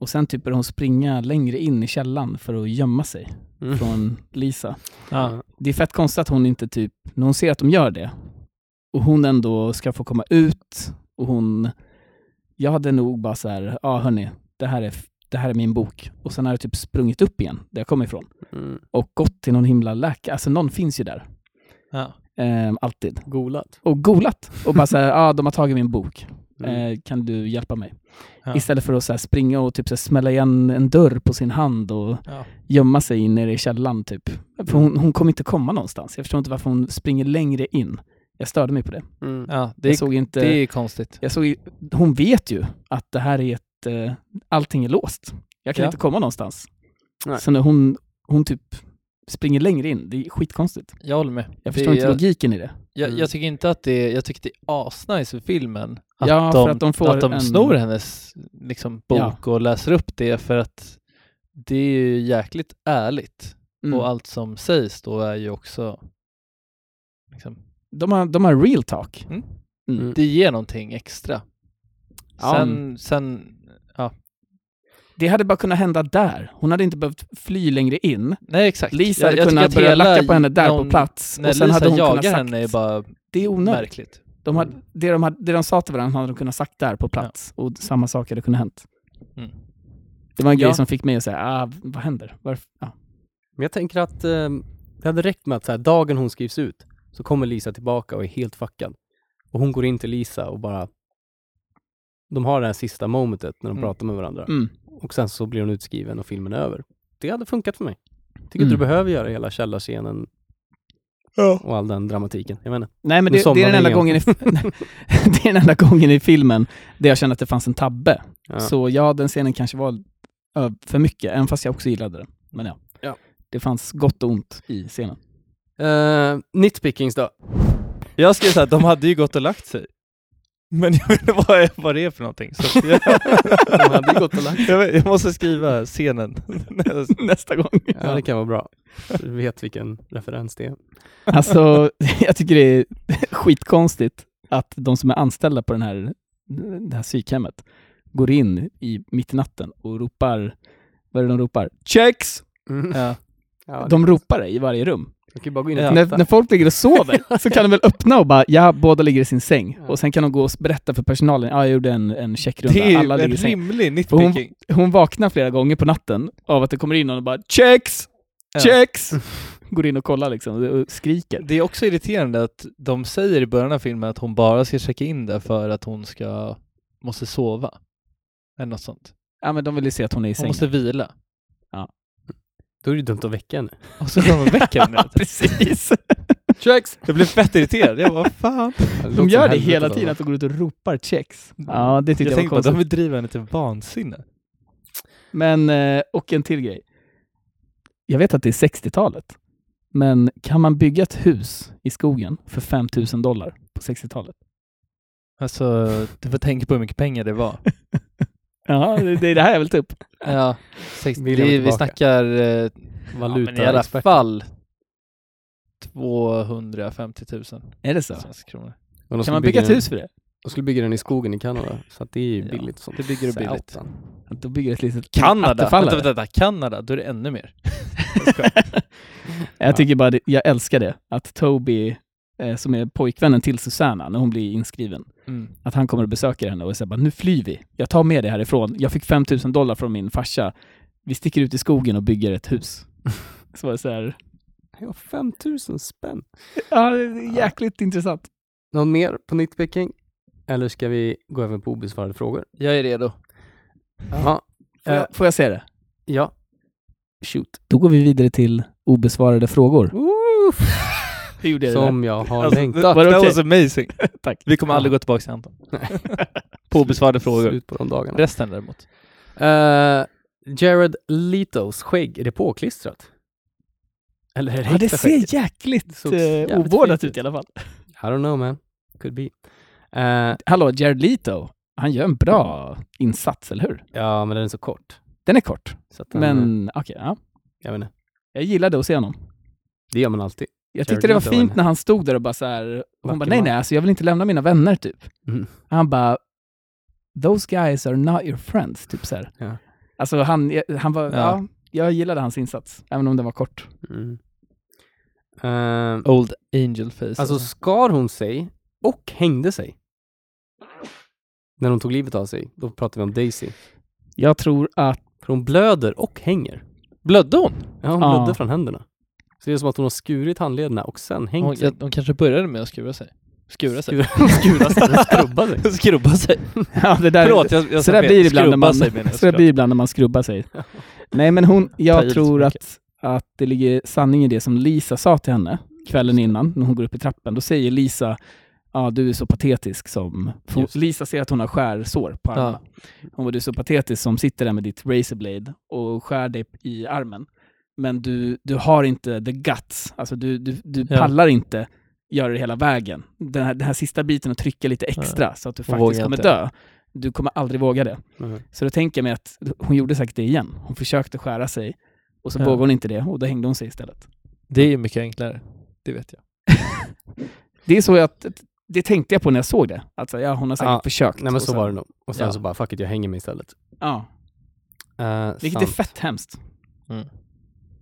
K: Och sen typ börjar hon springa längre in i källan för att gömma sig
A: Mm.
K: från Lisa.
A: Eh,
J: Ja.
K: Det är fett konstigt att hon inte typ, när hon ser att de gör det, och hon ändå ska få komma ut och hon, jag hade nog bara så här, ja ah, hörni, det här, är, f- det här är min bok. Och sen har jag typ sprungit upp igen, där jag kommer ifrån,
A: Mm.
K: och gått till någon himla läkare, alltså någon finns ju där,
J: Ja.
K: ehm, alltid.
A: Golat.
K: Och golat, och bara så här, ja ah, de har tagit min bok,
A: Mm.
K: eh, kan du hjälpa mig?
J: Ja.
K: Istället för att så här springa och typ så här smälla igen en dörr på sin hand och
J: Ja.
K: gömma sig in nere i källaren typ. För hon, hon kommer inte komma någonstans. Jag förstår inte varför hon springer längre in. Jag störde mig på det.
A: Mm.
J: Ja, det,
K: Jag
J: är,
K: såg inte...
J: det är konstigt.
K: Jag såg, hon vet ju att det här är ett... eh, Allting är låst. Jag kan
J: Ja.
K: inte komma någonstans.
A: Nej.
K: Så när hon, hon typ springer längre in, det är skitkonstigt.
J: Jag håller med.
K: Jag förstår
J: det,
K: inte
J: jag,
K: logiken i det.
J: Jag, jag tycker inte att det jag tycker det är asnice i filmen att,
K: Ja,
J: de,
K: för att de får
J: att de
K: en-
J: snor hennes liksom, bok och läser upp det för att det är ju jäkligt ärligt.
K: Mm.
J: Och allt som sägs då är ju också liksom,
K: De har, de har real talk.
J: Mm.
K: Mm.
J: det ger någonting extra.
K: Ja.
J: Sen, sen ja.
K: Det hade bara kunnat hända där. Hon hade inte behövt fly längre in.
J: Nej, exakt.
K: Lisa
J: Jag-
K: hade
J: jag tycker
K: kunnat
J: att
K: börja
J: hela
K: lacka på henne där
J: någon-
K: på plats.
J: när
K: Och sen
J: Lisa
K: hade hon
J: jagar
K: kunnat sagt,
J: henne är bara
K: det är onödigt.
J: märkligt. Mm.
K: De hade, det, de hade, det de sa till varandra hade de kunnat sagt där på plats. Och samma sak hade kunnat hänt.
J: Mm.
K: Det var en
A: Ja.
K: grej som fick mig att säga, ah, vad händer? Varför? Ja.
A: Men jag tänker att eh, det hade räckt med att så här, dagen hon skrivs ut så kommer Lisa tillbaka och är helt fuckad. Och hon går in till Lisa och bara... De har det här sista momentet när de
K: Mm.
A: pratar med varandra.
K: Mm.
A: Och sen så blir hon utskriven och filmen är över. Det hade funkat för mig. Jag tycker inte
K: Mm.
A: du behöver göra hela källarscenen och all den dramatiken. Jag menar.
K: Nej men
A: Nu
K: det, det,
A: somnar
K: är den
A: vi
K: enda
A: igen.
K: gången i, det är den enda gången i filmen där jag kände att det fanns en tabbe.
A: Ja.
K: Så ja, den scenen kanske var ö, för mycket, även fast jag också gillade den. Men ja,
A: Ja.
K: det fanns gott och ont i scenen.
A: Eh, nitpickings då?
J: Jag skrev såhär, de hade ju gått och lagt sig. Men jag vet inte vad, vad det är för någonting. Så att jag,
A: De hade ju gått och lagt sig.
J: jag, vet- jag måste skriva scenen.
K: Nästa gång.
A: Ja, det kan vara bra. Du vet vilken referens det är.
K: Alltså, jag tycker det är skitkonstigt att de som är anställda på den här, det här psykhemmet går in i, mitt i natten och ropar, vad är det de ropar? Checks!
J: Ja.
K: Mm. De ropar det i varje rum.
A: De kan ju bara gå in och
K: Ja.
A: titta.
K: När, när folk ligger och sover så kan de väl öppna och bara, ja, båda ligger i sin säng. Och sen kan de gå och berätta för personalen, ja, jag gjorde en, en checkrunda,
J: Det är ju
K: alla ligger
J: en
K: i säng.
J: rimlig
K: För hon,
J: nitpicking.
K: hon vaknar flera gånger på natten av att det kommer in någon och bara, checks!
J: Ja.
K: Checks! Går in och kollar liksom och och skriker.
J: Det är också irriterande att de säger i början av filmen att hon bara ska checka in där för att hon ska, måste sova. Eller något sånt.
K: Ja men de vill ju se att hon är i
J: Hon
K: sängen.
J: måste vila.
A: Då är det ju dumt att väcka henne.
J: Och så kommer de väcka henne.
K: Precis!
A: Checks!
J: Jag blev fett irriterad. Jag bara, fan.
K: De gör det hela tiden, att de går ut och ropar checks. Ja, det tyckte jag,
J: jag
K: var
J: tänkte bara,
K: konstigt.
J: de vill driva henne till vansinne.
K: Men, eh, och en till grej. Jag vet att det är 60-talet, men kan man bygga ett hus i skogen för 5 000 dollar på 60-talet?
J: Alltså, du får tänka på hur mycket pengar det var.
K: Ja, det det är det här jag vill ta upp.
J: Ja, sex,
A: Vill jag
J: vi, vi
A: tillbaka.
J: snackar eh, ja, men i alla
A: Valutaexperter.
J: fall 250 000
K: Är det så?
J: svenska kronor.
A: Men de
K: Kan
A: skulle
K: man bygga ett
A: den-
K: hus för det?
A: De skulle bygga den i skogen i Kanada, så att det är ju
J: Ja,
A: billigt som
J: det bygger du billigt.
A: satan.
K: Att de bygger ett litet
J: Kanada!
K: attefall
J: Vänta,
K: här.
J: vänta, vänta, Kanada, då är det ännu mer.
K: Jag tycker bara, det, jag älskar det. Att Toby, eh, som är pojkvännen till Susanna, när hon blir inskriven,
J: Mm.
K: att han kommer och besöker henne och säger bara, nu flyr vi. Jag tar med dig härifrån. Jag fick 5 000 dollar från min farsa. Vi sticker ut i skogen och bygger ett hus. Så var det så här,
A: Ja, 5000 spänn.
K: ja, det är jäkligt intressant.
A: Någon mer på nitpicking? Eller ska vi gå över på obesvarade frågor?
J: Jag är redo.
A: Ja.
K: Får jag, får jag se det?
A: ja.
K: Shoot. Eh, Då går vi vidare till obesvarade frågor. Hur gjorde jag det
A: Som jag har
J: Alltså,
A: längtat.
J: that,
K: Var det
J: that
K: okej?
J: was amazing.
K: Tack.
J: Vi kommer aldrig gå tillbaka till Anton. På obesvarade frågor.
A: Slut på de dagarna.
J: Resten däremot.
A: Eh, Jared Letos skägg, är det påklistrat? Eller är det
K: Ja, det
A: äkta skägg?
K: ser jäkligt
A: såg jävligt
K: eh, ovårdat
A: fint
K: ut i alla fall.
A: I don't know man. Could be. Eh,
K: Hallå, Jared Leto. Han gör en bra insats, eller hur?
A: ja, men den är så kort.
K: Den är kort,
A: Så att den,
K: men okej. ja.
A: Jag vet inte.
K: Jag gillade att se honom.
A: Det gör man alltid.
K: Jag
A: Jared
K: tyckte det var
A: Leto,
K: fint
A: en-
K: när han stod där och bara så här, hon bara
A: Vacker
K: nej
A: man.
K: nej, alltså jag vill inte lämna mina vänner typ.
A: Mm.
K: Han bara, those guys are not your friends, typ så här.
A: Ja.
K: Alltså han, han var, ja.
J: Ja.
K: jag gillade hans insats, även om den var kort.
A: Mm. Eh,
J: Old angel face.
A: Alltså skar hon sig och hängde sig? När hon tog livet av sig, då pratar vi om Daisy.
K: Jag tror att,
A: För hon blöder och hänger.
J: blödde hon?
A: Ja, hon
K: Ja.
A: blödde från händerna. Så det är som att hon har skurit handlederna och sen hängt
J: hon
A: sig.
J: jag, de kanske började med att skura sig. Skura sig.
A: Skura, skura sig, hon skrubba sig.
J: Skrubba sig.
K: ja det där,
J: Förlåt, jag, jag
K: så
J: sa
K: där
J: fel.
K: blir det ibland när
J: Skrubba
K: man,
J: sig menar jag
K: så där
J: såklart.
K: blir det ibland när man skrubbar sig. nej men hon,
J: Ta i
K: jag
J: lite
K: tror
J: mycket.
K: att, att det ligger sanning i det som Lisa sa till henne kvällen innan, när hon går upp i trappen. Då säger Lisa, ja du är så patetisk som... för
J: Just det.
K: Lisa ser att hon har skärsår på armarna.
J: Ja.
K: Hon var du är så patetisk som sitter där med ditt razorblade och skär dig i armen. Men du, du har inte the guts, alltså du, du, du
J: Ja.
K: pallar inte göra det hela vägen. Den här, den här sista biten och trycka lite extra
J: Nej.
K: så att du
J: Hon vågar
K: faktiskt kommer
J: inte.
K: dö. Du kommer aldrig våga det.
A: Mm.
J: Nej.
K: Så då tänker jag mig att hon gjorde säkert det igen. Hon försökte skära sig och så
J: Ja.
K: vågade hon inte det och då hängde hon sig istället.
J: Det är ju mycket enklare. Det vet jag.
K: Det är så jag, det tänkte jag på när jag såg det. Att så här, ja, hon har säkert
A: Ja,
K: försökt.
A: Nej men
K: och
A: så
K: sen-
A: var det nog. Och sen
K: Ja.
A: så bara, fuck it, jag hänger mig istället.
K: Ja.
A: Eh,
K: Vilket är
A: sant.
K: fett hemskt.
J: Mm.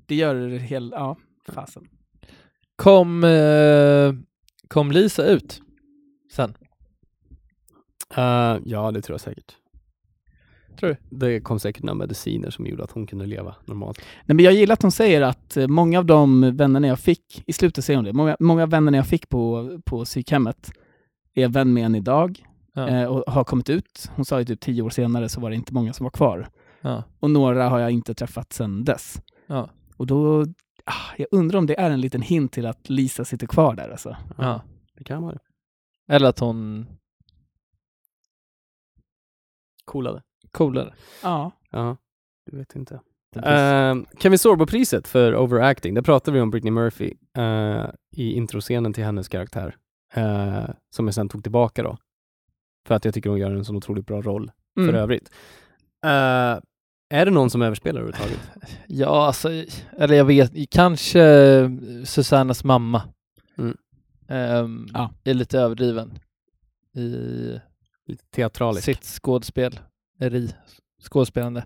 K: Det gör det hela, ja, fasen.
J: Kom, eh, kom Lisa ut sen?
A: Eh, ja, det tror jag säkert.
J: Tror du?
A: Det kom säkert några mediciner som gjorde att hon kunde leva normalt.
K: Nej, men jag gillar att hon säger att eh, många av de vännerna jag fick, i slutet säger hon det, många, många av vännerna jag fick på, på psykhemmet är vän med en idag
J: Ja.
K: eh, och har kommit ut. Hon sa ju typ tio år senare så var det inte många som var kvar.
J: Ja.
K: Och några har jag inte träffat sedan dess.
J: Ja.
K: Och då, ah, jag undrar om det är en liten hint till att Lisa sitter kvar där alltså.
J: Ja.
A: Det kan vara det.
J: Eller att hon
A: Coolade.
J: coolare.
K: Ja. Eh,
A: Ja, du vet inte.
J: Precis.
A: Ehm, Kevin Sorbo-priset för overacting, där pratade vi om Britney Murphy eh, i introscenen till hennes karaktär, eh, som jag sen tog tillbaka då. För att jag tycker hon gör en sån otroligt bra roll
J: Mm.
A: för övrigt. Eh, är det någon som överspelar överhuvudtaget?
J: Ja, alltså, eller jag vet, kanske Susannas mamma
A: Mm.
J: ehm, är lite överdriven i
A: Lite teatraliskt.
J: sitt skådespel, eri, skådespelande.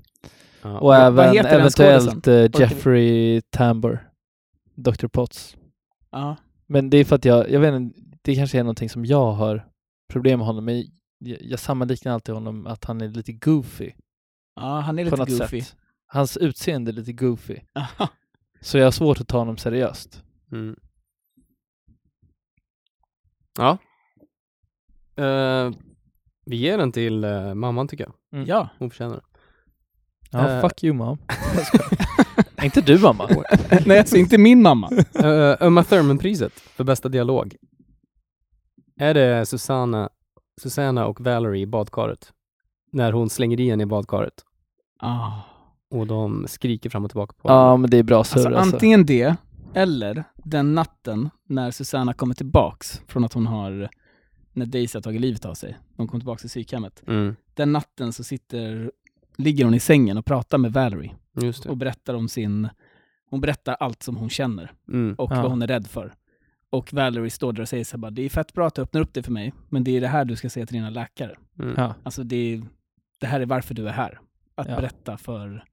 A: Ja.
J: Och
A: Vad- vad
J: även
A: heter den
J: eventuellt
A: skådisen?
J: eh,
A: Orkar vi-
J: Jeffrey Tambor, Dr. Potts.
K: Ja.
J: Men det är för att jag, jag vet inte, det kanske är någonting som jag har problem med honom, men jag, jag sammanliknar alltid honom att han är lite goofy.
K: Ja, han är lite
J: på något
K: goofy.
J: sätt. Hans utseende är lite goofy. Så jag har svårt att ta honom seriöst.
A: Mm. Ja. Eh, vi ger den till eh, mamman tycker jag.
J: Mm.
K: Ja.
A: Hon förtjänar det.
J: Ja,
A: Eh,
J: fuck you mom. inte du mamma.
K: Nej, alltså inte min mamma.
A: Eh, Uma Thurman-priset för bästa dialog. Är det Susanna, Susanna och Valerie i badkaret? När hon slänger i henne i badkaret
K: Ah.
A: och de skriker fram och tillbaka på
J: Ja,
A: varandra.
J: men det är bra surr
K: Alltså,
J: alltså.
K: antingen det, eller den natten när Susanna kommer tillbaks från att hon har, när Daisy har tagit livet av sig, de kommer tillbaks till psykhemmet.
A: Mm.
K: Den natten så sitter, ligger hon i sängen och pratar med Valerie
A: Just det.
K: och berättar om sin, hon berättar allt som hon känner
A: Mm.
K: och
A: Ja.
K: vad hon är rädd för. Och Valerie står där och säger så här bara, det är fett bra att du öppnar upp det för mig, men det är det här du ska säga till dina läkare.
A: Mm.
J: Ja.
K: Alltså det, är, det här är varför du är här. Att
J: Ja.
K: berätta för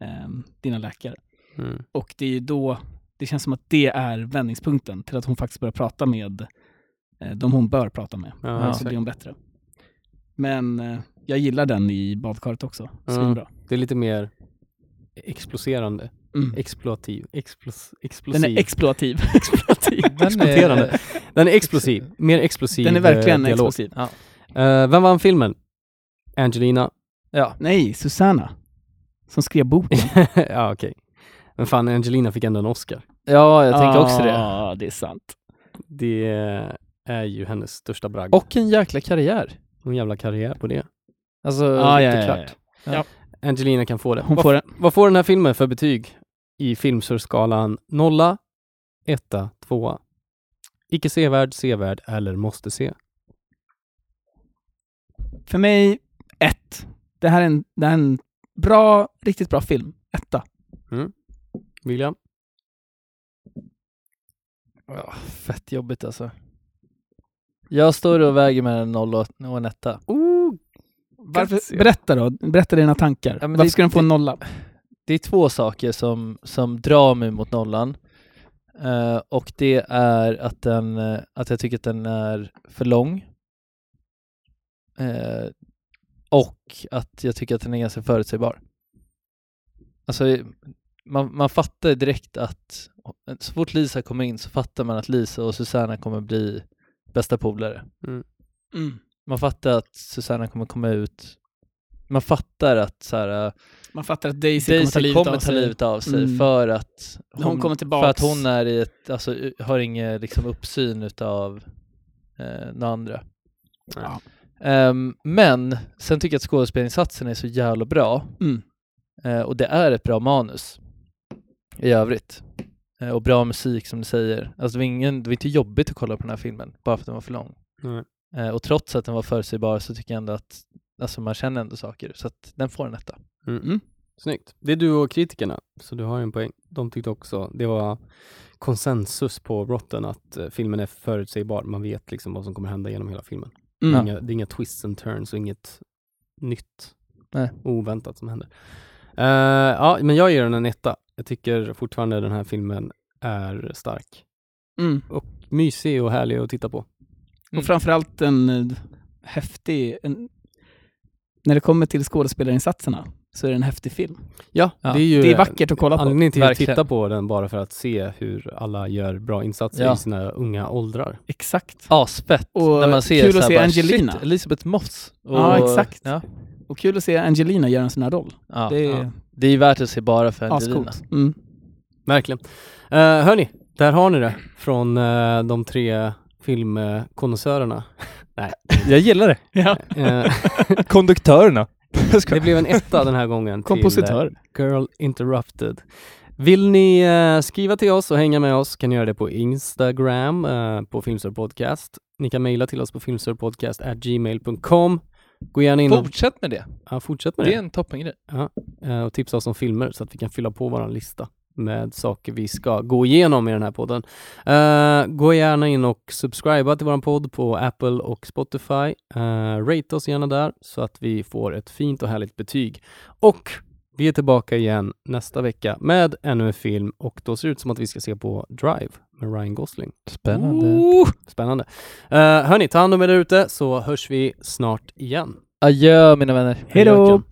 K: ehm, dina läkare.
A: Mm.
K: Och det är ju då, det känns som att det är vändningspunkten till att hon faktiskt börjar prata med eh, de hon bör prata med. Alltså,
A: Ja,
K: och så
A: exakt.
K: blir hon bättre. Men eh, jag gillar den i badkaret också.
A: Mm.
K: Svinbra.
A: Det är lite mer exploserande.
K: Mm.
A: Exploativ. Explos, explosiv.
K: Den är exploativ.
A: exploativ.
J: är-
A: Exploderande. Den är explosiv. Mer explosiv
K: Den är verkligen
A: eh, dialog.
K: explosiv.
J: Ja.
A: Eh, vem vann filmen? Angelina.
J: Ja.
K: Nej, Susanna. Som skrev boken.
A: ja, okej. Men fan, Angelina fick ändå en Oscar.
J: ja, jag tänker också det.
K: Ja, Ah, det är sant.
A: Det är ju hennes största bragd.
J: Och en jäkla karriär.
A: en jävla karriär på det.
J: Alltså,
K: Ah, Ja, ja,
J: det är
K: ja,
J: klart.
K: Ja.
A: Angelina kan få det.
K: Hon
A: vad,
K: får det.
A: vad får den här filmen för betyg i filmsurskalan 0, 1, 2? Icke sevärd, sevärd eller måste se?
K: För mig, ett. Det här är en, det här är en bra, riktigt bra film. Etta.
A: William?
J: Ja, fett jobbigt alltså. Jag står och väger med en noll och och en etta.
A: Oh,
K: Varför, berätta då, berätta dina tankar.
J: Ja, men
K: Varför
J: det-
K: ska den få en nolla?
J: det är två saker som, som drar mig mot nollan. Eh, och det är att, den, eh, att jag tycker att den är för lång. Eh, och att jag tycker att den är ganska förutsägbar. Alltså, man, man fattar direkt att så fort Lisa kommer in så fattar man att Lisa och Susanna kommer bli bästa polare.
A: Mm.
K: Mm.
J: Man fattar att Susanna kommer komma ut. Man fattar att så här, eh,
K: Man fattar att Daisy,
J: Daisy
K: kommer ta livet av sig.
J: sig
K: Mm.
J: för att
K: Hon kommer tillbaks.
J: för att hon är i ett, alltså, u- har ingen liksom, uppsyn utav eh, några andra.
A: Ja.
J: Ehm, men sen tycker jag att skådespelinsatsen är så jävla bra
K: Mm.
J: eh, och det är ett bra manus i övrigt. Eh, Och bra musik som du säger. Alltså det var, ingen, det var inte jobbigt att kolla på den här filmen, bara för att den var för lång.
A: Nej.
J: Eh, Och trots att den var förutsägbar så tycker jag ändå att alltså man känner ändå saker. Så att den får en etta.
A: Mm. Snyggt. Det är du och kritikerna, så du har en poäng. De tyckte också, det var konsensus på Rotten att eh, filmen är förutsägbar. Man vet liksom vad som kommer hända genom hela filmen.
J: Mm.
A: Inga, det är inga twists and turns och inget nytt
J: Nej.
A: oväntat som händer. Eh, ja, men jag ger den en etta. Jag tycker fortfarande den här filmen är stark.
K: Mm.
A: Och mysig och härlig att titta på.
K: Och framförallt en eh, häftig... En, när det kommer till skådespelarinsatserna så är det en häftig film.
A: Ja,
K: Ja.
A: det är ju
K: Det är vackert att kolla på.
A: Anledningen till att
K: Verkligen.
A: titta på den bara för att se hur alla gör bra insatser
J: Ja.
A: i sina unga åldrar.
K: Exakt.
J: Asfett.
K: Och
J: när man ser
K: kul
J: så
K: att
J: här
K: se
J: bara,
K: Angelina.
J: Shit, Elisabeth Moss. Och,
K: ja, exakt.
J: Ja,
K: Och kul att se Angelina göra en sån här roll.
J: ja,
K: det är
J: ja. det är värt att se bara för Angelina.
K: ascoolt. Mm.
A: Verkligen. Uh, hörni, där har ni det från eh, de tre filmkonnässörerna. Nej.
J: Jag gillar det.
K: Ja.
A: Eh,
J: Konduktörerna.
A: det blev en etta den här gången. till, eh,
K: Kompositör.
A: Girl Interrupted. Vill ni eh, skriva till oss och hänga med oss kan ni göra det på Instagram eh, på filmsurpodcast. Ni kan mejla till oss på filmsurpodcast@gmail.com. Gå gärna in och
J: Fortsätt med det.
A: ja, fortsätt med
J: Det
A: det.
J: är en toppengrej.
A: Ja, eh, och tipsa oss om filmer så att vi kan fylla på vår lista med saker vi ska gå igenom i den här podden. Eh, gå gärna in och subscriba till vår podd på Apple och Spotify. Uh, rate oss gärna där så att vi får ett fint och härligt betyg. Och vi är tillbaka igen nästa vecka med ännu en film och då ser det ut som att vi ska se på Drive med Ryan Gosling.
J: Spännande.
A: Ooh, spännande. Uh, hörni, ta hand om er där ute så hörs vi snart igen.
J: Adjö mina vänner.
A: Hej då!